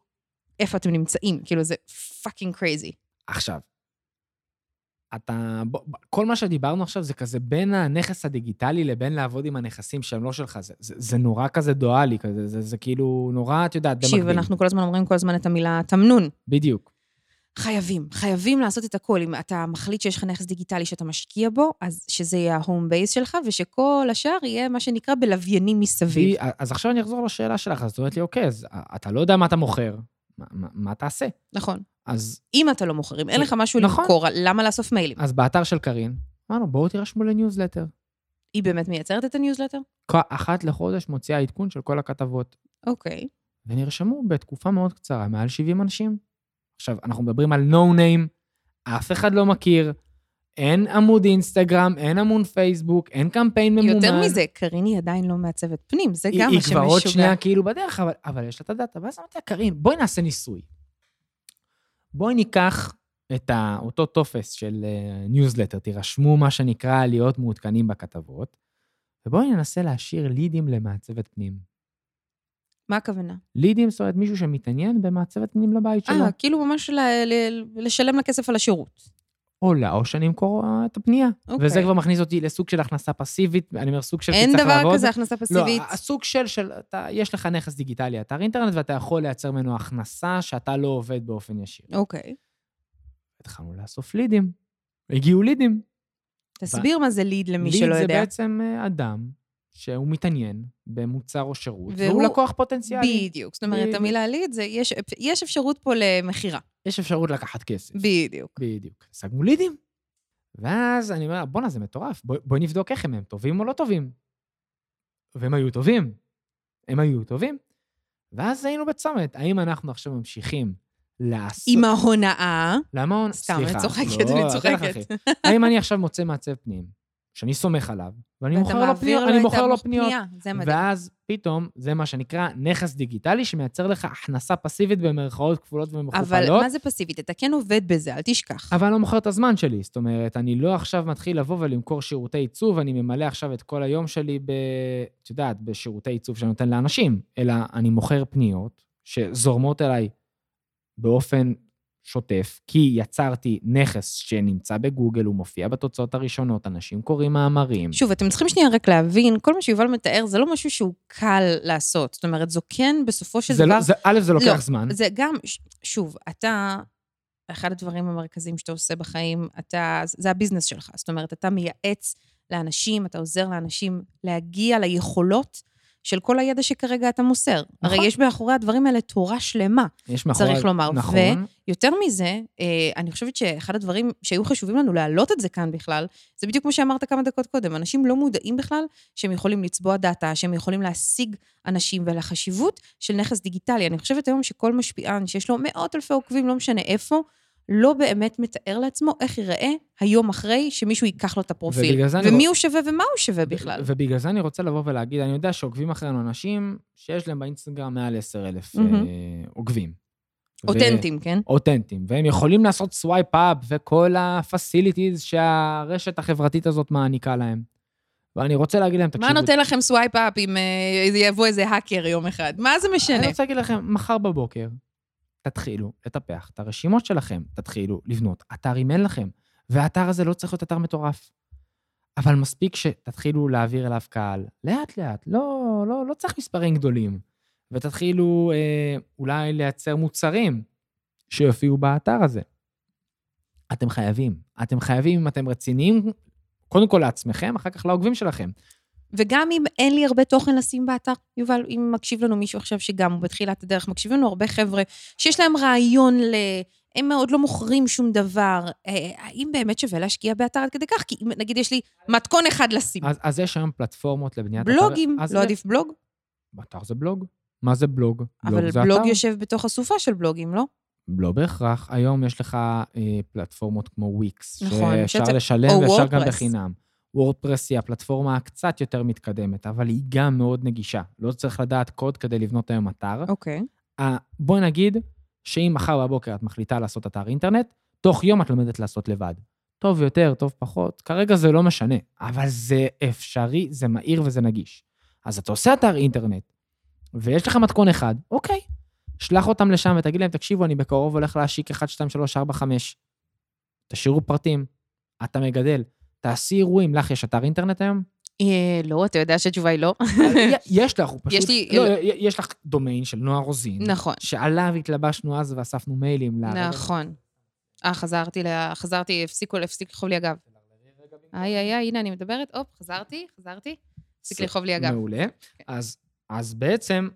Speaker 2: איפה אתם נמצאים, כאילו זה פאקינג קרייזי.
Speaker 1: עכשיו, אתה... בוא, בוא- כל מה שדיברנו עכשיו זה כזה בין הנכס הדיגיטלי לבין לעבוד עם הנכסים שהם לא שלך. זה, זה, זה נורא כזה דואלי, כזה, זה, זה כאילו נורא, את יודעת, במקביל.
Speaker 2: תקשיב, אנחנו כל הזמן אומרים כל הזמן את המילה תמנון.
Speaker 1: בדיוק.
Speaker 2: חייבים, חייבים לעשות את הכל. אם אתה מחליט שיש לך נכס דיגיטלי שאתה משקיע בו, אז שזה יהיה ההום בייס שלך, ושכל השאר יהיה מה שנקרא בלוויינים מסביב.
Speaker 1: והיא, אז עכשיו אני אחזור לשאלה שלך, אז את אומרת לי, אוקיי, אז אתה לא יודע מה אתה מוכר, מה, מה, מה תעשה?
Speaker 2: נכון.
Speaker 1: אז,
Speaker 2: אם אתה לא מוכר, אם אין לך משהו
Speaker 1: נכון.
Speaker 2: למכור, למה לאסוף מיילים?
Speaker 1: אז באתר של קארין, אמרנו, בואו תירשמו לניוזלטר.
Speaker 2: היא באמת מייצרת את הניוזלטר?
Speaker 1: כל- אחת לחודש מוציאה עדכון של כל הכתבות,
Speaker 2: אוקיי.
Speaker 1: ונרשמו בתקופה מאוד קצרה, מעל 70 אנשים. עכשיו, אנחנו מדברים על no name, אף אחד לא מכיר, אין עמוד אינסטגרם, אין עמוד פייסבוק, אין קמפיין ממומן.
Speaker 2: יותר מזה, קרין היא עדיין לא מעצבת פנים, זה
Speaker 1: היא-
Speaker 2: גם מה
Speaker 1: היא כבר עוד
Speaker 2: שמשוגע.
Speaker 1: שנייה כאילו בדרך, אבל, אבל יש לה את הדאטה. ואז אמרתי לה, קארין, בואי נעשה ניסוי. בואי ניקח את ה- אותו טופס של ניוזלטר, תירשמו מה שנקרא להיות מעודכנים בכתבות, ובואי ננסה להשאיר לידים למעצבת פנים.
Speaker 2: מה הכוונה?
Speaker 1: לידים, זאת אומרת, מישהו שמתעניין במעצבת פנים לבית שלו.
Speaker 2: אה, כאילו ממש ל- ל- לשלם לה כסף על השירות.
Speaker 1: או לה, או שאני אמכור אה, את הפנייה.
Speaker 2: אוקיי.
Speaker 1: וזה כבר מכניס אותי לסוג של הכנסה פסיבית, אני אומר סוג של
Speaker 2: אין
Speaker 1: כי צריך
Speaker 2: דבר
Speaker 1: לעבוד.
Speaker 2: כזה הכנסה פסיבית.
Speaker 1: לא, הסוג של, של אתה, יש לך נכס דיגיטלי, אתר אינטרנט, ואתה יכול לייצר ממנו הכנסה שאתה לא עובד באופן ישיר.
Speaker 2: אוקיי.
Speaker 1: התחלנו לאסוף לידים. הגיעו לידים.
Speaker 2: תסביר מה זה ליד למי
Speaker 1: ליד
Speaker 2: שלא
Speaker 1: זה
Speaker 2: יודע.
Speaker 1: בעצם אה, אדם שהוא מתעניין במוצר או שירות, והוא,
Speaker 2: והוא-
Speaker 1: לקוח פוטנציאלי.
Speaker 2: בדיוק. זאת אומרת,
Speaker 1: בדיוק.
Speaker 2: המילה ליד זה, יש- יש אפשרות פה למכירה.
Speaker 1: יש אפשרות לקחת כסף.
Speaker 2: בדיוק.
Speaker 1: בדיוק. השגנו לידים. ואז אני אומר, בואנה, זה מטורף, בואי בוא נבדוק איך הם, הם טובים או לא טובים. והם היו טובים. הם היו טובים. ואז היינו בצומת, האם אנחנו עכשיו ממשיכים לעשות...
Speaker 2: עם ההונאה,
Speaker 1: למה...
Speaker 2: סתם,
Speaker 1: סליחה,
Speaker 2: אני צוחקת,
Speaker 1: לא,
Speaker 2: אני
Speaker 1: אל תלך, אחי.
Speaker 2: צוחקת.
Speaker 1: האם אני עכשיו מוצא מעצב פנים, שאני סומך עליו, ואני
Speaker 2: ואתה
Speaker 1: מוכר לו
Speaker 2: מעביר
Speaker 1: פניות, אני
Speaker 2: את
Speaker 1: מוכר לו
Speaker 2: המוח-
Speaker 1: פניות,
Speaker 2: פנייה, זה מדהים.
Speaker 1: ואז פתאום, זה מה שנקרא נכס דיגיטלי, שמייצר לך הכנסה פסיבית במרכאות כפולות
Speaker 2: אבל
Speaker 1: ומכופלות.
Speaker 2: מה זה פסיבית? אתה כן עובד בזה, אל תשכח.
Speaker 1: אבל אני לא מוכר את הזמן שלי. זאת אומרת, אני לא עכשיו מתחיל לבוא ולמכור שירותי עיצוב, אני ממלא עכשיו את כל היום שלי ב... את יודעת, בשירותי עיצוב שאני נותן לאנשים, אלא אני מוכר פניות שזורמות אליי באופן שוטף, כי יצרתי נכס שנמצא בגוגל, הוא מופיע בתוצאות הראשונות, אנשים קוראים מאמרים.
Speaker 2: שוב, אתם צריכים שנייה רק להבין, כל מה שיובל מתאר זה לא משהו שהוא קל לעשות. זאת אומרת, זו כן, בסופו של
Speaker 1: זה
Speaker 2: דבר...
Speaker 1: לא, זה, א', זה לוקח
Speaker 2: לא,
Speaker 1: זמן.
Speaker 2: זה גם, ש- שוב, אתה, אחד הדברים המרכזיים שאתה עושה בחיים, אתה, זה הביזנס שלך. זאת אומרת, אתה מייעץ לאנשים, אתה עוזר לאנשים להגיע ליכולות של כל הידע שכרגע אתה מוסר. נכון. הרי
Speaker 1: נכון.
Speaker 2: יש מאחורי הדברים האלה תורה שלמה.
Speaker 1: יש מאחורי...
Speaker 2: צריך לומר,
Speaker 1: נכון.
Speaker 2: יותר מזה, אה, אני חושבת שאחד הדברים שהיו חשובים לנו להעלות את זה כאן בכלל, זה בדיוק כמו שאמרת כמה דקות קודם, אנשים לא מודעים בכלל שהם יכולים לצבוע דאטה, שהם יכולים להשיג אנשים ועל החשיבות של נכס דיגיטלי. אני חושבת היום שכל משפיען שיש לו מאות אלפי עוקבים, לא משנה איפה, לא באמת מתאר לעצמו איך ייראה היום אחרי שמישהו ייקח לו את הפרופיל.
Speaker 1: ובגלל זה אני
Speaker 2: ומי
Speaker 1: רוצ-
Speaker 2: הוא שווה ומה הוא שווה בכלל.
Speaker 1: ו- ובגלל זה אני רוצה לבוא ולהגיד, אני יודע שעוקבים אחרינו אנשים שיש להם באינסטגרם מעל 10,000 אה,
Speaker 2: מהמם.
Speaker 1: עוקבים. ו-
Speaker 2: אותנטיים, כן?
Speaker 1: אותנטיים, והם יכולים לעשות סווייפ אפ וכל ה-facilities שהרשת החברתית הזאת מעניקה להם. אבל אני רוצה להגיד להם, תקשיבו...
Speaker 2: מה נותן לכם סווייפ אפ אם אה, יבוא איזה האקר יום אחד? מה זה משנה?
Speaker 1: אני רוצה להגיד לכם, מחר בבוקר תתחילו לטפח את הרשימות שלכם, תתחילו לבנות אתר אם אין לכם, והאתר הזה לא צריך להיות אתר מטורף. אבל מספיק שתתחילו להעביר אליו קהל, לאט-לאט, לא, לא, לא צריך מספרים גדולים. ותתחילו אה, אולי לייצר מוצרים שיופיעו באתר הזה. אתם חייבים. אתם חייבים, אם אתם רציניים, קודם כל לעצמכם, אחר כך לעוקבים שלכם.
Speaker 2: וגם אם אין לי הרבה תוכן לשים באתר, יובל, אם מקשיב לנו מישהו עכשיו שגם הוא בתחילת הדרך, מקשיבים לנו הרבה חבר'ה שיש להם רעיון ל... הם עוד לא מוכרים שום דבר. אה, האם באמת שווה להשקיע באתר עד כדי כך? כי אם, נגיד יש לי מתכון אחד לשים.
Speaker 1: אז, אז יש היום פלטפורמות לבניית... אתר-
Speaker 2: בלוגים,
Speaker 1: אז
Speaker 2: לא
Speaker 1: זה-
Speaker 2: עדיף בלוג?
Speaker 1: אתר זה בלוג. מה זה בלוג?
Speaker 2: אבל
Speaker 1: זה
Speaker 2: בלוג
Speaker 1: אתר.
Speaker 2: יושב בתוך אסופה של בלוגים, לא?
Speaker 1: לא בהכרח. היום יש לך אה, פלטפורמות כמו וויקס,
Speaker 2: נכון,
Speaker 1: שאפשר
Speaker 2: שאתה-
Speaker 1: לשלם
Speaker 2: או
Speaker 1: ואפשר גם
Speaker 2: וורדפרס.
Speaker 1: בחינם. וורדפרס היא הפלטפורמה הקצת יותר מתקדמת, אבל היא גם מאוד נגישה. לא צריך לדעת קוד כדי לבנות היום אתר.
Speaker 2: אוקיי.
Speaker 1: אה, בואי נגיד שאם מחר בבוקר את מחליטה לעשות אתר אינטרנט, תוך יום את לומדת לעשות לבד. טוב יותר, טוב פחות, כרגע זה לא משנה, אבל זה אפשרי, זה מהיר וזה נגיש. אז אתה עושה אתר אינטרנט, ויש לך מתכון אחד, אוקיי, שלח אותם לשם ותגיד להם, תקשיבו, אני בקרוב הולך להשיק 1, 2, 3, 4, 5. תשאירו פרטים, אתה מגדל, תעשי אירועים, לך יש אתר אינטרנט היום? אה,
Speaker 2: אה, לא, אתה יודע שהתשובה היא לא.
Speaker 1: יש לך, הוא פשוט...
Speaker 2: יש לי-
Speaker 1: לא, יש לך דומיין של נועה רוזין.
Speaker 2: נכון,
Speaker 1: שעליו התלבשנו אז ואספנו מיילים. ל-
Speaker 2: נכון. אה, חזרתי, ל- חזרתי, הפסיקו, הפסיק לכאוב לי הגב. איי, איי, איי, הנה אני מדברת, הופ, חזרתי, חזרתי. הפסיק לכאוב לי כן. הגב.
Speaker 1: מעולה. אז, אז בעצם,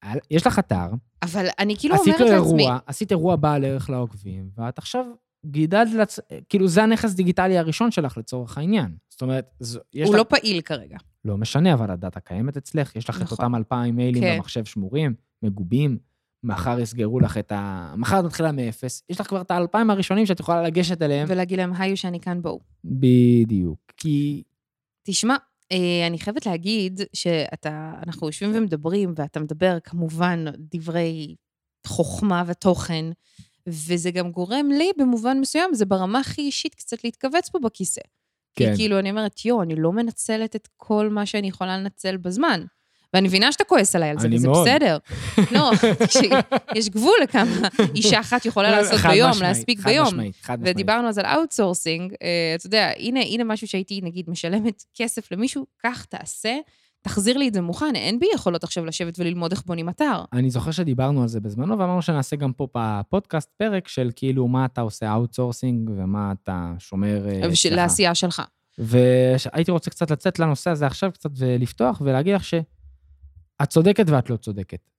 Speaker 1: על- יש לך אתר,
Speaker 2: אבל אני כאילו
Speaker 1: עשית
Speaker 2: אומרת
Speaker 1: לו
Speaker 2: לעצמי,
Speaker 1: אירוע, עשית אירוע בעל ערך לעוקבים, ואת עכשיו גידלת, לעצ... כאילו זה הנכס דיגיטלי הראשון שלך לצורך העניין. זאת אומרת, זו- יש
Speaker 2: הוא
Speaker 1: לך...
Speaker 2: לא פעיל כרגע.
Speaker 1: לא משנה, אבל הדאטה קיימת אצלך, יש לך את
Speaker 2: נכון.
Speaker 1: אותם 2,000 מיילים
Speaker 2: כן.
Speaker 1: במחשב שמורים, מגובים, מחר יסגרו לך את ה... מחר את מתחילה מאפס, יש לך כבר את ה-2,000 הראשונים שאת יכולה לגשת אליהם.
Speaker 2: ולהגיד להם, היו שאני כאן, בואו.
Speaker 1: בדיוק. כי
Speaker 2: תשמע, אה, אני חייבת להגיד שאתה, אנחנו יושבים ומדברים, ואתה מדבר כמובן דברי חוכמה ותוכן, וזה גם גורם לי במובן מסוים, זה ברמה הכי אישית קצת להתכווץ פה בכיסא.
Speaker 1: כן.
Speaker 2: כי כאילו, אני אומרת, יואו, אני לא מנצלת את כל מה שאני יכולה לנצל בזמן. ואני מבינה שאתה כועס עליי על זה,
Speaker 1: אני
Speaker 2: וזה
Speaker 1: מאוד.
Speaker 2: בסדר. לא, תקשיב, יש גבול לכמה אישה אחת יכולה לעשות
Speaker 1: חד
Speaker 2: ביום,
Speaker 1: משמעית,
Speaker 2: להספיק ביום.
Speaker 1: חד משמעית, חד משמעית.
Speaker 2: ודיברנו אז על אאוטסורסינג, אה, אתה יודע, הנה, הנה משהו שהייתי, נגיד, משלמת כסף למישהו, כך תעשה, תחזיר לי את זה מוכן, אין בי יכולות עכשיו לשבת וללמוד איך בונים אתר.
Speaker 1: אני זוכר שדיברנו על זה בזמנו, ואמרנו שנעשה גם פה בפודקאסט פרק של כאילו מה אתה עושה אאוטסורסינג ומה אתה שומר אה,
Speaker 2: אבל של-
Speaker 1: אצלך.
Speaker 2: לעשייה שלך.
Speaker 1: והייתי רוצה קצת לצאת לנושא הזה עכשיו, קצת ולפתוח ולהגיד לך שאת צודקת ואת לא צודקת.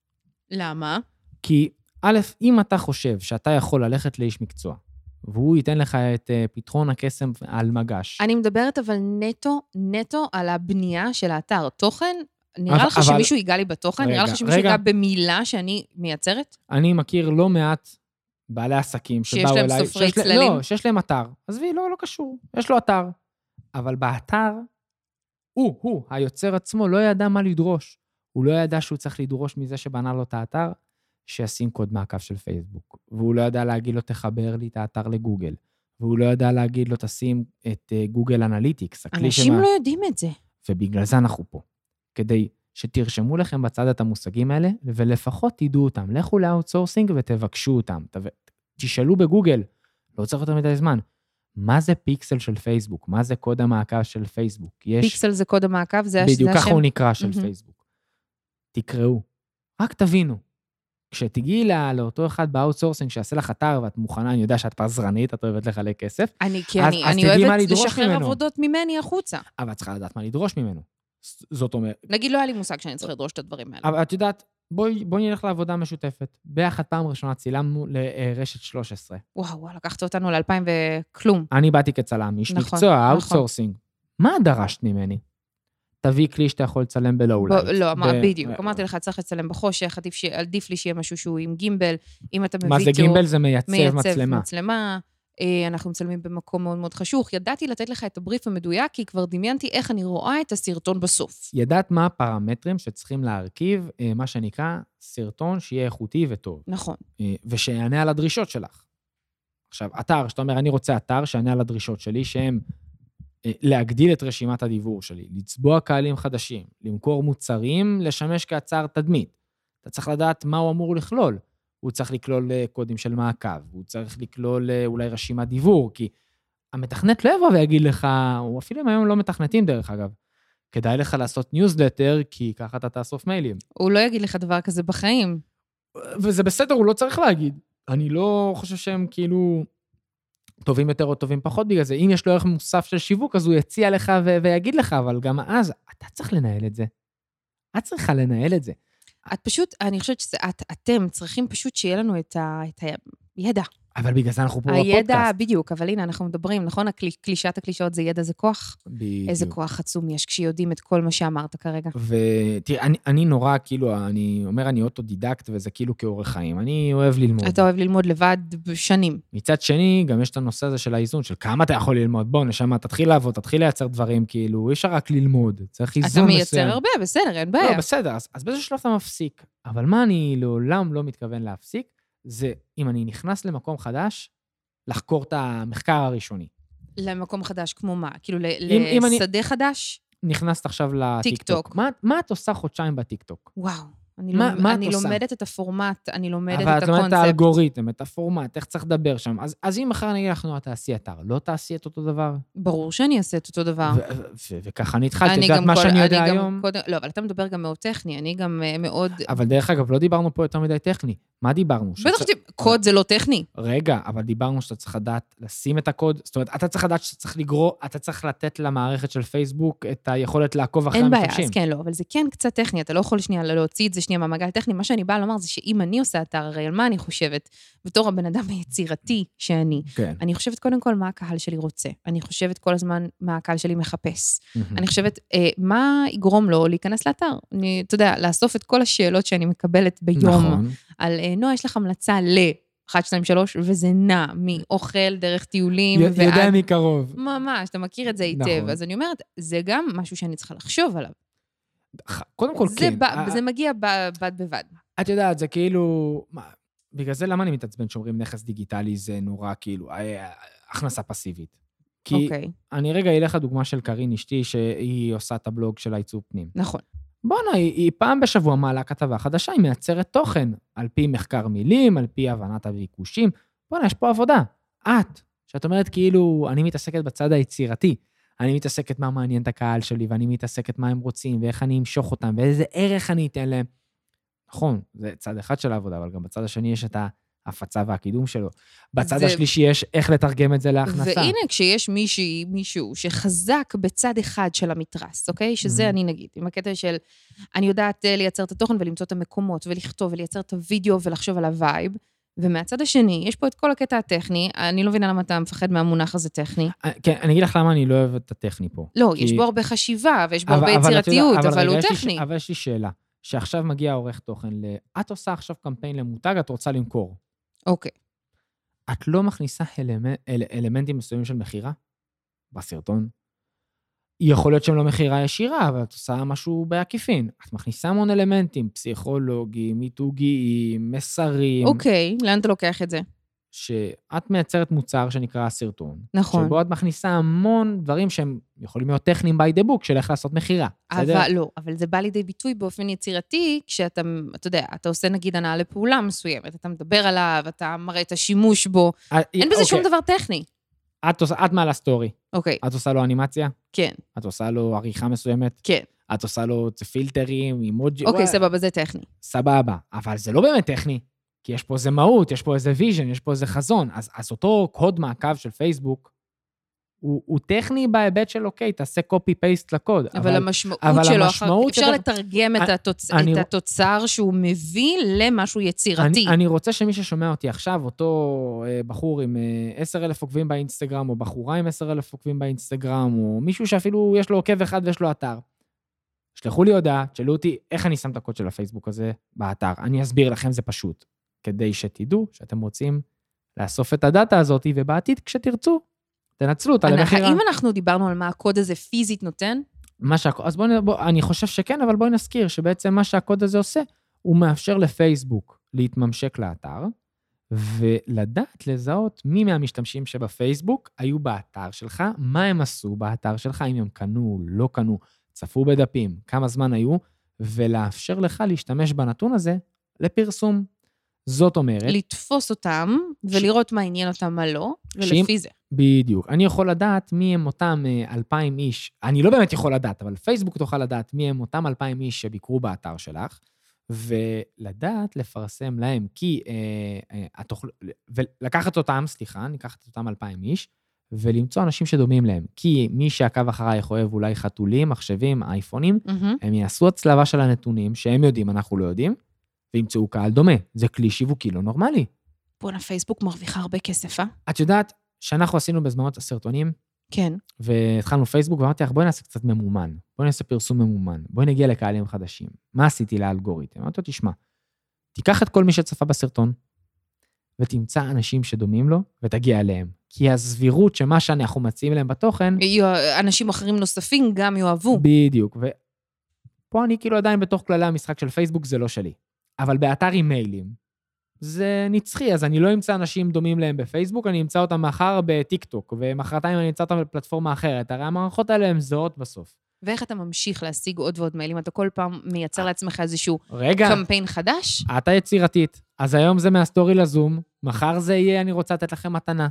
Speaker 2: למה?
Speaker 1: כי א', אם אתה חושב שאתה יכול ללכת לאיש מקצוע, והוא ייתן לך את אה, פתרון הקסם על מגש,
Speaker 2: אני מדברת אבל נטו, נטו על הבנייה של האתר. תוכן, נראה
Speaker 1: אבל-
Speaker 2: לך
Speaker 1: אבל-
Speaker 2: שמישהו ייגע לי בתוכן? נראה
Speaker 1: רגע,
Speaker 2: לך שמישהו
Speaker 1: רגע.
Speaker 2: ייגע במילה שאני מייצרת?
Speaker 1: אני מכיר לא מעט בעלי עסקים
Speaker 2: שיש
Speaker 1: שבאו אליי.
Speaker 2: להם סופרי
Speaker 1: שיש לה-
Speaker 2: צללים?
Speaker 1: לא, שיש להם אתר. עזבי, לא, לא קשור. יש לו אתר. אבל באתר, הוא, הוא, היוצר עצמו, לא ידע מה לדרוש. הוא לא ידע שהוא צריך לדרוש מזה שבנה לו את האתר, שישים קוד מעקב של פייסבוק. והוא לא ידע להגיד לו, תחבר לי את האתר לגוגל. והוא לא ידע להגיד לו, תשים את אה, גוגל אנליטיקס, הכלי
Speaker 2: אנשים
Speaker 1: שמה-
Speaker 2: לא יודעים את זה.
Speaker 1: ובגלל זה אנחנו פה. כדי שתרשמו לכם בצד את המושגים האלה, ולפחות תדעו אותם. לכו לאאוטסורסינג ותבקשו אותם. ת- תשאלו בגוגל, לא צריך יותר מדי זמן, מה זה פיקסל של פייסבוק? מה זה קוד המעקב של פייסבוק? יש...
Speaker 2: פיקסל זה קוד המעקב, זה הש- זה
Speaker 1: בדיוק ככה
Speaker 2: השם.
Speaker 1: הוא נקרא של
Speaker 2: מהמם.
Speaker 1: פייסבוק. תקראו, רק תבינו. כשתגיעי לא, לאותו אחד באאוטסורסינג שיעשה לך אתר ואת מוכנה, אני יודע שאת פזרנית, את אוהבת לחלק כסף,
Speaker 2: אני, כי
Speaker 1: אז-
Speaker 2: אני,
Speaker 1: אז
Speaker 2: אני
Speaker 1: תדעי מה
Speaker 2: אוהבת
Speaker 1: לדרוש
Speaker 2: לשחרר
Speaker 1: ממנו.
Speaker 2: עבודות ממני החוצה.
Speaker 1: אבל את צריכה לדעת מה לדרוש ממנו. ז- זאת אומרת,
Speaker 2: נגיד, לא היה לי מושג שאני צריכה לדרוש את הדברים האלה.
Speaker 1: אבל את יודעת, בואי, בואי נלך לעבודה משותפת. ביחד פעם ראשונה צילמנו לרשת 13.
Speaker 2: וואו, וואו, לקחת אותנו ל-2000 וכלום.
Speaker 1: אני באתי כצלם, איש
Speaker 2: נכון,
Speaker 1: מקצוע,
Speaker 2: נכון.
Speaker 1: אאוטסורסינג. מה דרשת ממני? תביא כלי שאתה יכול לצלם בלואו לייט.
Speaker 2: בוא- לא, אמר, בדיוק. אמרתי לך, צריך לצלם בחושך, עדיף ש- עדיף לי שיהיה משהו שהוא עם גימבל. אם אתה מביא
Speaker 1: מה זה
Speaker 2: תיאור-
Speaker 1: גימבל? זה מייצב,
Speaker 2: מייצב
Speaker 1: מצלמה.
Speaker 2: מצלמה. אה, אנחנו מצלמים במקום מאוד מאוד חשוך. ידעתי לתת לך את הבריף המדויק, כי כבר דמיינתי איך אני רואה את הסרטון בסוף.
Speaker 1: ידעת מה הפרמטרים שצריכים להרכיב, אה, מה שנקרא, סרטון שיהיה איכותי וטוב,
Speaker 2: נכון.
Speaker 1: אה, ושיענה על הדרישות שלך. עכשיו, אתר, שאתה אומר, אני רוצה אתר שיענה על הדרישות שלי, שהם אה, להגדיל את רשימת הדיבור שלי, לצבוע קהלים חדשים, למכור מוצרים, לשמש כהצהר תדמית. אתה צריך לדעת מה הוא אמור לכלול. הוא צריך לכלול אה, קודים של מעקב, הוא צריך לכלול אה, אולי רשימת דיבור, כי המתכנת לא יבוא ויגיד לך, או אפילו אם היום לא מתכנתים דרך אגב, כדאי לך לעשות ניוזלטר, כי ככה אתה תאסוף מיילים.
Speaker 2: הוא לא יגיד לך דבר כזה בחיים.
Speaker 1: וזה בסדר, הוא לא צריך להגיד. אני לא חושב שהם כאילו טובים יותר או טובים פחות בגלל זה. אם יש לו ערך מוסף של שיווק, אז הוא יציע לך ו- ויגיד לך, אבל גם אז אתה צריך לנהל את זה. את צריכה לנהל את זה.
Speaker 2: את פשוט, אני חושבת שזה את, אתם צריכים פשוט שיהיה לנו את, ה, את הידע.
Speaker 1: אבל בגלל זה אנחנו פה
Speaker 2: הידע,
Speaker 1: בפודקאסט.
Speaker 2: בדיוק, אבל הנה, אנחנו מדברים, נכון? הקלי- קלישת הקלישאות זה ידע, זה כוח.
Speaker 1: בדיוק.
Speaker 2: איזה כוח עצום יש כשיודעים את כל מה שאמרת כרגע.
Speaker 1: ותראה, אני, אני נורא, כאילו, אני אומר, אני אוטודידקט, וזה כאילו כאורח חיים. אני אוהב ללמוד.
Speaker 2: אתה אוהב ללמוד לבד שנים.
Speaker 1: מצד שני, גם יש את הנושא הזה של האיזון, של כמה אתה יכול ללמוד. בוא, נשמה, תתחיל לעבוד, תתחיל לייצר דברים, כאילו, אי אפשר רק ללמוד, צריך איזון
Speaker 2: אתה
Speaker 1: מסוים.
Speaker 2: מייצר הרבה, בסדר, אין בעיה.
Speaker 1: לא, בסדר, אז, אז באיזשהו שלב אתה מפסיק. אבל מה אני לעולם לא מתכוון להפסיק, זה אם אני נכנס למקום חדש, לחקור את המחקר הראשוני.
Speaker 2: למקום חדש, כמו מה? כאילו, ל-
Speaker 1: אם אני-
Speaker 2: לשדה חדש?
Speaker 1: נכנסת עכשיו לטיקטוק.
Speaker 2: טיקטוק.
Speaker 1: מה, מה את עושה חודשיים בטיקטוק?
Speaker 2: וואו. אני,
Speaker 1: מה-
Speaker 2: לומד,
Speaker 1: מה את
Speaker 2: אני
Speaker 1: עושה?
Speaker 2: לומדת את הפורמט, אני לומדת
Speaker 1: אבל
Speaker 2: את
Speaker 1: את לומדת את
Speaker 2: הקונספט.
Speaker 1: האלגוריתם, את הפורמט, איך צריך לדבר שם. אז, אז אם מחר אני אגיד לך, נועה, תעשי אתר, לא תעשי את אותו דבר?
Speaker 2: ברור שאני אעשה את אותו דבר.
Speaker 1: ו- ו- ו- וככה אני התחלתי, את
Speaker 2: אה. אני
Speaker 1: יודעת
Speaker 2: גם
Speaker 1: מה
Speaker 2: כל-
Speaker 1: שאני יודע
Speaker 2: אני גם
Speaker 1: היום?
Speaker 2: קודם, לא, אבל אתה מדבר גם מאוד טכני, אני גם אה, מאוד...
Speaker 1: אבל דרך אגב, לא דיברנו פה יותר מדי טכני. מה דיברנו?
Speaker 2: בטח
Speaker 1: שצריך-
Speaker 2: שקוד זה לא טכני.
Speaker 1: רגע, אבל דיברנו שאתה צריך לדעת לשים את הקוד, זאת אומרת, אתה צריך לדעת שאתה צריך לגרור, אתה צריך לתת למערכת של פייסבוק את היכולת לעקוב אחרי
Speaker 2: אין בעיה,
Speaker 1: המשתמשים.
Speaker 2: אז כן, לא, אבל זה כן קצת טכני, אתה לא יכול שנייה להוציא את זה שנייה מהמעגל הטכני. מה שאני באה לומר זה שאם אני עושה אתר, הרי על מה אני חושבת? בתור הבן אדם היצירתי שאני.
Speaker 1: כן.
Speaker 2: אני חושבת קודם כל מה הקהל שלי רוצה. אני חושבת כל הזמן מה הקהל שלי מחפש.
Speaker 1: כן. מהמם.
Speaker 2: אני חושבת, אה, מה יגרום לו להיכנס לאתר? אני, אתה יודע, לאסוף את כל השאלות שאני מקבלת ביום.
Speaker 1: נכון.
Speaker 2: על אה, נועה, יש לך המלצה ל... 1, 2, 3, וזה נע מאוכל, דרך טיולים,
Speaker 1: י- יודע מקרוב.
Speaker 2: ממש, אתה מכיר את זה היטב.
Speaker 1: נכון.
Speaker 2: אז אני אומרת, זה גם משהו שאני צריכה לחשוב עליו.
Speaker 1: ח- קודם כל,
Speaker 2: זה,
Speaker 1: כן.
Speaker 2: בא,
Speaker 1: ה-
Speaker 2: זה מגיע ב, בד בבד.
Speaker 1: את יודעת, זה כאילו... מה, בגלל זה למה אני מתעצבן שאומרים נכס דיגיטלי זה נורא כאילו אה, אה, הכנסה פסיבית. כי
Speaker 2: אוקיי,
Speaker 1: אני רגע אלך לדוגמה של קארין אשתי, שהיא עושה את הבלוג של העיצוב פנים.
Speaker 2: נכון.
Speaker 1: בואנה, היא, היא פעם בשבוע מעלה כתבה חדשה, היא מייצרת תוכן, על פי מחקר מילים, על פי הבנת הביקושים. בואנה, יש פה עבודה. את, שאת אומרת כאילו, אני מתעסקת בצד היצירתי, אני מתעסקת מה מעניין את הקהל שלי, ואני מתעסקת מה הם רוצים, ואיך אני אמשוך אותם, ואיזה ערך אני אתן להם. נכון, זה צד אחד של העבודה, אבל גם בצד השני יש את ההפצה והקידום שלו. בצד
Speaker 2: זה-
Speaker 1: השלישי יש איך לתרגם את זה להכנסה.
Speaker 2: והנה, כשיש מישהי, מישהו, שחזק בצד אחד של המתרס, אוקיי? שזה
Speaker 1: Mhm.
Speaker 2: אני נגיד, עם הקטע של אני יודעת אה, לייצר את התוכן ולמצוא את המקומות, ולכתוב, ולייצר את הוידאו, ולחשוב על הווייב. ומהצד השני, יש פה את כל הקטע הטכני, אני לא מבינה למה אתה מפחד מהמונח הזה טכני.
Speaker 1: אה, כן, אני אגיד לך למה אני לא אוהב את הטכני פה.
Speaker 2: לא,
Speaker 1: כי-
Speaker 2: יש בו הרבה חשיבה, ויש בו
Speaker 1: אבל-
Speaker 2: הרבה
Speaker 1: אבל את יודעת-
Speaker 2: יצירתיות, אבל
Speaker 1: רגע,
Speaker 2: הוא
Speaker 1: יש לי ש-
Speaker 2: טכני.
Speaker 1: אבל יש לי שאלה, שעכשיו מגיע עורך תוכן ל... את עושה עכשיו קמפיין למותג, את רוצה למכור.
Speaker 2: אוקיי.
Speaker 1: את לא מכניסה אלמנ- אל- אלמנטים מסוימים של מכירה בסרטון? יכול להיות שהם לא מכירה ישירה, אבל את עושה משהו בעקיפין. את מכניסה המון אלמנטים, פסיכולוגיים, מיתוגיים, מסרים,
Speaker 2: אוקיי, לאן אתה לוקח את זה?
Speaker 1: שאת מייצרת מוצר שנקרא סרטון.
Speaker 2: נכון.
Speaker 1: שבו את מכניסה המון דברים שהם יכולים להיות טכניים by the book של איך לעשות מכירה. בסדר?
Speaker 2: אבל לא, אבל זה בא לידי ביטוי באופן יצירתי, כשאתה, אתה יודע, אתה עושה נגיד הנעה לפעולה מסוימת, אתה מדבר עליו, אתה מראה את השימוש בו,
Speaker 1: אה,
Speaker 2: אין בזה שום
Speaker 1: אוקיי,
Speaker 2: דבר טכני.
Speaker 1: את, עושה, את מעלה סטורי,
Speaker 2: אוקיי,
Speaker 1: את עושה לו אנימציה?
Speaker 2: כן,
Speaker 1: את עושה לו עריכה מסוימת?
Speaker 2: כן. את...
Speaker 1: את עושה לו פילטרים, אימוג'י?
Speaker 2: אוקיי,
Speaker 1: וואי,
Speaker 2: סבבה, זה טכני.
Speaker 1: סבבה. אבל זה לא באמת טכני, כי יש פה איזה מהות, יש פה איזה ויז'ן, יש פה איזה חזון. אז, אז אותו קוד מעקב של פייסבוק, הוא, הוא טכני בהיבט של, אוקיי, תעשה copy-paste לקוד.
Speaker 2: אבל, המשמעות
Speaker 1: אבל
Speaker 2: שלו,
Speaker 1: המשמעות
Speaker 2: אחר... אפשר
Speaker 1: יותר-
Speaker 2: לתרגם את,
Speaker 1: אני-
Speaker 2: התוצ...
Speaker 1: אני-
Speaker 2: את התוצר שהוא מביא למשהו יצירתי.
Speaker 1: אני, אני רוצה שמי ששומע אותי עכשיו, אותו אה, בחור עם אה, 10,000 עוקבים באינסטגרם, או בחורה עם 10,000 עוקבים באינסטגרם, או מישהו שאפילו יש לו עוקב אחד ויש לו אתר, שלחו לי הודעה, תשאלו אותי איך אני שם את הקוד של הפייסבוק הזה באתר. אני אסביר לכם, זה פשוט. כדי שתדעו שאתם רוצים לאסוף את הדאטה הזאת, ובעתיד, כשתרצו, תנצלו אותה
Speaker 2: אנחנו-
Speaker 1: למכירה.
Speaker 2: האם אנחנו דיברנו על מה הקוד הזה פיזית נותן?
Speaker 1: מה שה... אז בואו, נ- בוא, אני חושב שכן, אבל בואי נזכיר שבעצם מה שהקוד הזה עושה, הוא מאפשר לפייסבוק להתממשק לאתר, ולדעת לזהות מי מהמשתמשים שבפייסבוק היו באתר שלך, מה הם עשו באתר שלך, אם הם קנו, לא קנו, צפו בדפים, כמה זמן היו, ולאפשר לך להשתמש בנתון הזה לפרסום. זאת אומרת,
Speaker 2: לתפוס אותם ולראות מה עניין אותם, מה לא,
Speaker 1: שאם-
Speaker 2: ולפי זה.
Speaker 1: בדיוק. אני יכול לדעת מי הם אותם אה, 2,000 איש, אני לא באמת יכול לדעת, אבל פייסבוק תוכל לדעת מי הם אותם 2,000 איש שביקרו באתר שלך, ולדעת לפרסם להם, כי אה, אה, התוכל... ולקחת אותם, סליחה, ניקח את אותם 2,000 איש, ולמצוא אנשים שדומים להם. כי מי שעקב אחרייך אוהב אולי חתולים, מחשבים, אייפונים,
Speaker 2: מהמם.
Speaker 1: הם יעשו הצלבה של הנתונים שהם יודעים, אנחנו לא יודעים, וימצאו קהל דומה. זה כלי שיווקי לא נורמלי.
Speaker 2: בואנה, פייסבוק מרוויחה הרבה כסף, אה?
Speaker 1: את יודעת, שאנחנו עשינו בזמנו את הסרטונים,
Speaker 2: כן.
Speaker 1: והתחלנו פייסבוק, ואמרתי לך, בואי נעשה קצת ממומן, בואי נעשה פרסום ממומן, בואי נגיע לקהלים חדשים. מה עשיתי לאלגוריתם? אמרתי לו, תשמע, תיקח את כל מי שצפה בסרטון, ותמצא אנשים שדומים לו, ותגיע אליהם. כי הסבירות שמה שאנחנו מציעים להם בתוכן,
Speaker 2: יהיו- אנשים אחרים נוספים גם יאהבו.
Speaker 1: בדיוק. ופה אני כאילו עדיין בתוך כללי המשחק של פייסבוק, זה לא שלי. אבל באתר אימיילים, זה נצחי, אז אני לא אמצא אנשים דומים להם בפייסבוק, אני אמצא אותם מחר בטיקטוק, ומחרתיים אני אמצא אותם בפלטפורמה אחרת. הרי המערכות האלה הן זהות בסוף.
Speaker 2: ואיך אתה ממשיך להשיג עוד ועוד מיילים? אתה כל פעם מייצר לעצמך איזשהו
Speaker 1: רגע,
Speaker 2: קמפיין חדש?
Speaker 1: את היצירתית. אז היום זה מהסטורי לזום, מחר זה יהיה, אני רוצה לתת לכם מתנה.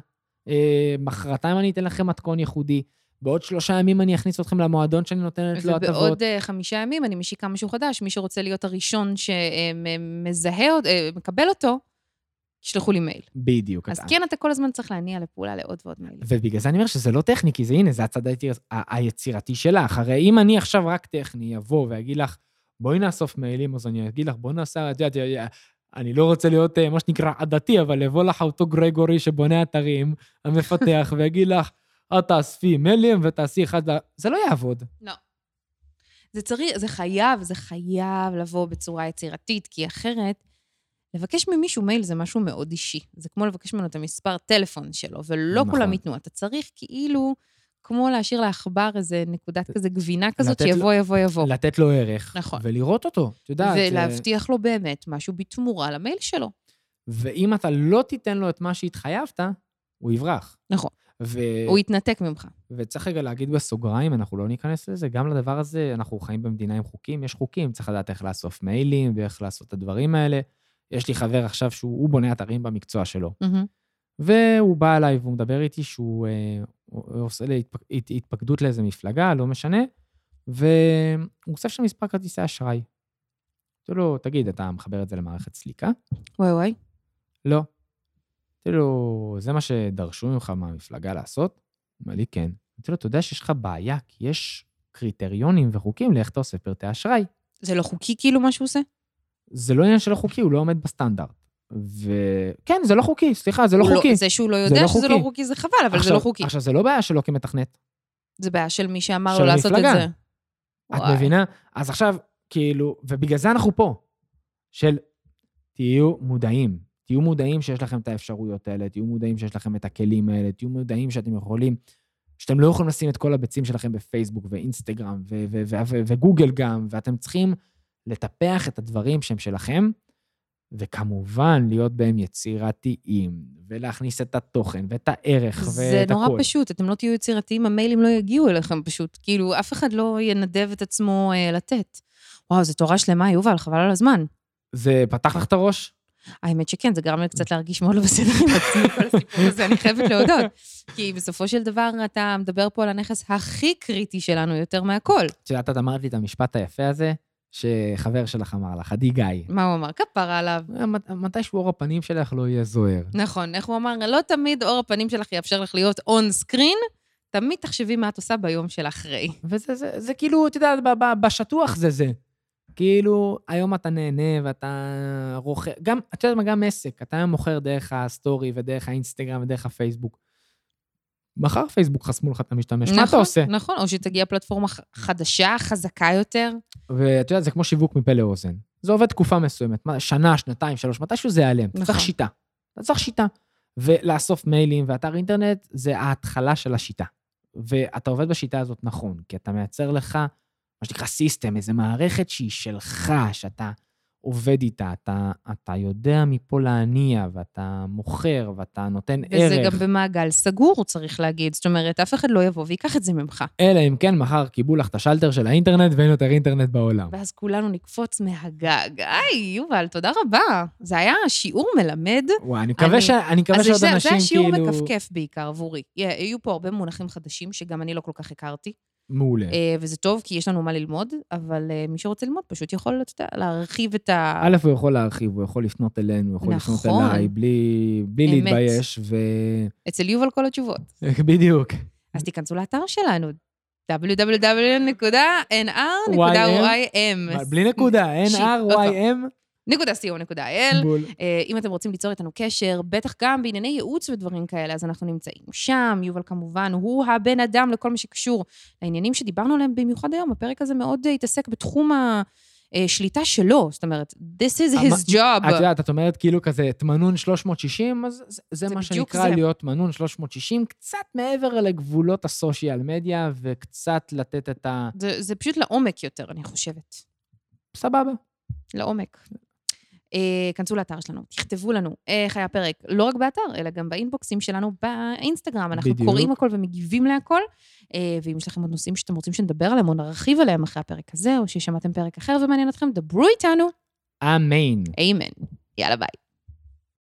Speaker 1: אה, מחרתיים אני אתן לכם מתכון ייחודי. בעוד שלושה ימים אני אכניס אתכם למועדון שאני נותנת לו הטבות.
Speaker 2: ובעוד אה, חמישה ימים אני משיקה משהו חדש. מי שרוצה להיות הראשון שמזהה, אות- אה, מקבל אותו, תשלחו לי מייל.
Speaker 1: בדיוק.
Speaker 2: אז
Speaker 1: את-
Speaker 2: כן, אתה כל הזמן צריך להניע לפעולה לעוד ועוד מיילים.
Speaker 1: ובגלל זה אני אומר שזה לא טכני, כי זה הנה, זה הצד היציר, ה- היצירתי שלך. הרי אם אני עכשיו רק טכני אבוא ואגיד לך, בואי נאסוף מיילים, אז אני אגיד לך, בואי נעשה, את יודעת, אני לא רוצה להיות, אה, מה שנקרא, עדתי, אבל יבוא לך אותו גרגורי שבונה אתרים, המפתח, ויגיד לך, את תאספי מיילים ותעשי אחד, ל-" זה לא יעבוד.
Speaker 2: זה צריך, זה חייב, זה חייב לבוא בצורה יצירתית, כי אחרת, לבקש ממישהו מייל זה משהו מאוד אישי. זה כמו לבקש ממנו את המספר טלפון שלו, ולא
Speaker 1: נכון.
Speaker 2: נכון. כולם ייתנו. אתה צריך כאילו, כמו להשאיר לעכבר איזה נקודת כזה גבינה כזאת,
Speaker 1: לתת לו-
Speaker 2: שיבוא, יבוא, יבוא.
Speaker 1: לתת לו ערך,
Speaker 2: נכון.
Speaker 1: ולראות אותו, את יודעת. אה,
Speaker 2: ולהבטיח לו באמת משהו בתמורה למייל שלו.
Speaker 1: ואם אתה לא תיתן לו את מה שהתחייבת, הוא יברח.
Speaker 2: נכון.
Speaker 1: ו...
Speaker 2: הוא יתנתק ממך.
Speaker 1: וצריך רגע להגיד בסוגריים, אנחנו לא ניכנס לזה, גם לדבר הזה, אנחנו חיים במדינה עם חוקים, יש חוקים, צריך לדעת איך לאסוף מיילים ואיך לעשות את הדברים האלה. יש לי חבר עכשיו שהוא הוא בונה אתרים במקצוע שלו,
Speaker 2: מהמם.
Speaker 1: והוא בא אליי והוא מדבר איתי שהוא אה, הוא- הוא עושה לי התפק, הת, התפקדות לאיזה מפלגה, לא משנה, והוא אוסף שם מספר כרטיסי אשראי. אמרתי לו, תגיד, אתה מחבר את זה למערכת סליקה?
Speaker 2: וואי וואי.
Speaker 1: לא. אמרתי לו, זה מה שדרשו ממך מהמפלגה לעשות? הוא אומר לי, כן. אמרתי לו, אתה יודע שיש לך בעיה, כי יש קריטריונים וחוקים לאיך אתה עושה פרטי אשראי.
Speaker 2: זה לא חוקי כאילו מה שהוא עושה?
Speaker 1: זה לא עניין של החוקי, הוא לא עומד בסטנדרט. וכן, זה לא חוקי, סליחה, זה לא
Speaker 2: הוא
Speaker 1: חוקי.
Speaker 2: זה שהוא לא
Speaker 1: זה
Speaker 2: יודע
Speaker 1: לא
Speaker 2: שזה
Speaker 1: חוקי.
Speaker 2: לא חוקי זה חבל, אבל זה
Speaker 1: עכשיו-
Speaker 2: לא חוקי.
Speaker 1: עכשיו, זה לא בעיה שלו כמתכנת,
Speaker 2: זה בעיה של מי שאמר
Speaker 1: של
Speaker 2: לו לעשות את
Speaker 1: המפלגה.
Speaker 2: זה.
Speaker 1: את
Speaker 2: וואי.
Speaker 1: מבינה? אז עכשיו, כאילו, ובגלל זה אנחנו פה, של תהיו מודעים. תהיו מודעים שיש לכם את האפשרויות האלה, תהיו מודעים שיש לכם את הכלים האלה, תהיו מודעים שאתם יכולים, שאתם לא יכולים לשים את כל הביצים שלכם בפייסבוק ואינסטגרם ו- ו- ו- ו- וגוגל גם, ואתם צריכים לטפח את הדברים שהם שלכם, וכמובן, להיות בהם יצירתיים, ולהכניס את התוכן ואת הערך ואת הכול.
Speaker 2: זה נורא פשוט, אתם לא תהיו יצירתיים, המיילים לא יגיעו אליכם פשוט. כאילו, אף אחד לא ינדב את עצמו אה, לתת. וואו, זו תורה שלמה, יובל, חבל על הזמן.
Speaker 1: זה פתח לך את הראש?
Speaker 2: האמת שכן, זה גרם לי קצת להרגיש מאוד לא בסדר עם עצמי, כל הסיפור הזה, אני חייבת להודות. כי בסופו של דבר אתה מדבר פה על הנכס הכי קריטי שלנו יותר מהכל.
Speaker 1: את יודעת, את אמרת לי את המשפט היפה הזה, שחבר שלך אמר לך, עדי גיא.
Speaker 2: מה הוא אמר? כפרה עליו.
Speaker 1: "מת- מתישהו אור הפנים שלך לא יהיה זוהר.
Speaker 2: נכון, איך הוא אמר? לא תמיד אור הפנים שלך יאפשר לך להיות און סקרין, תמיד תחשבי מה את עושה ביום שלאחרי.
Speaker 1: וזה זה, זה כאילו, את יודעת, ב- ב- בשטוח זה זה. כאילו, היום אתה נהנה ואתה רוכר, גם, את יודעת מה, גם עסק, אתה היום מוכר דרך הסטורי ודרך האינסטגרם ודרך הפייסבוק. מחר פייסבוק חסמו לך את המשתמש, מה אתה
Speaker 2: נכון,
Speaker 1: עושה?
Speaker 2: נכון, או שתגיע פלטפורמה ח- חדשה, חזקה יותר.
Speaker 1: ואת יודעת, זה כמו שיווק מפה לאוזן. זה עובד תקופה מסוימת, מה, שנה, שנתיים, שלוש, מתישהו זה ייעלם. אתה
Speaker 2: נכון.
Speaker 1: צריך שיטה. אתה צריך שיטה. ולאסוף מיילים ואתר אינטרנט, זה ההתחלה של השיטה. ואתה עובד בשיטה הזאת נכון, כי אתה מייצר לך, מה שנקרא סיסטם, איזו מערכת שהיא שלך, שאתה עובד איתה, אתה, אתה יודע מפה להניע, ואתה מוכר, ואתה נותן
Speaker 2: וזה
Speaker 1: ערך.
Speaker 2: גם במעגל סגור, צריך להגיד. זאת אומרת, אף אחד לא יבוא וייקח את זה ממך.
Speaker 1: אלא אם כן מחר קיבלו לך את השלטר של האינטרנט ואין יותר אינטרנט בעולם.
Speaker 2: ואז כולנו נקפוץ מהגג. היי, יובל, תודה רבה. זה היה שיעור מלמד.
Speaker 1: וואי, אני מקווה
Speaker 2: אני-
Speaker 1: ש- אני מקווה
Speaker 2: אז
Speaker 1: שעוד
Speaker 2: זה,
Speaker 1: אנשים
Speaker 2: זה השיעור
Speaker 1: כאילו...
Speaker 2: מכפכף בעיקר עבורי. יה- יהיו פה הרבה מונחים חדשים שגם אני לא כל כך הכרתי,
Speaker 1: כן. מעולה.
Speaker 2: אה, וזה טוב, כי יש לנו מה ללמוד, אבל אה, מי שרוצה ללמוד פשוט יכול, אתה יודע, להרחיב את ה...
Speaker 1: א', הוא יכול להרחיב, הוא יכול לפנות אלינו, הוא יכול לפנות
Speaker 2: אה, נכון.
Speaker 1: אליי, בלי, בלי
Speaker 2: אמת.
Speaker 1: להתבייש, ו...
Speaker 2: אצל יובל כל התשובות.
Speaker 1: בדיוק.
Speaker 2: אז תיכנסו לאתר שלנו, www.nr.ym.
Speaker 1: בלי נקודה,
Speaker 2: שיט, אוקיי. עוד פעם.
Speaker 1: nrym,
Speaker 2: נקודה co.il.
Speaker 1: בול.
Speaker 2: אה, אם אתם רוצים ליצור איתנו קשר, בטח גם בענייני ייעוץ ודברים כאלה, אז אנחנו נמצאים שם. יובל כמובן, הוא הבן אדם לכל מה שקשור לעניינים שדיברנו עליהם במיוחד היום. הפרק הזה מאוד אה, התעסק בתחום השליטה שלו. זאת אומרת, this is his
Speaker 1: את
Speaker 2: job.
Speaker 1: יודעת, את אומרת כאילו כזה, את מנון 360, אז זה, זה,
Speaker 2: זה
Speaker 1: מה
Speaker 2: בדיוק
Speaker 1: שנקרא
Speaker 2: זה.
Speaker 1: להיות מנון 360, קצת מעבר לגבולות הסושיאל מדיה, וקצת לתת את ה...
Speaker 2: זה, זה פשוט לעומק יותר, אני חושבת.
Speaker 1: סבבה.
Speaker 2: לעומק. אה, כנסו לאתר שלנו, תכתבו לנו איך היה הפרק, לא רק באתר, אלא גם באינבוקסים שלנו באינסטגרם. אנחנו
Speaker 1: בדיוק.
Speaker 2: בדיוק. קוראים הכל ומגיבים להכל, אה, ואם יש לכם עוד נושאים שאתם רוצים שנדבר עליהם או נרחיב עליהם אחרי הפרק הזה, או ששמעתם פרק אחר ומעניין אתכם, דברו איתנו,
Speaker 1: אמן.
Speaker 2: אמן. יאללה ביי.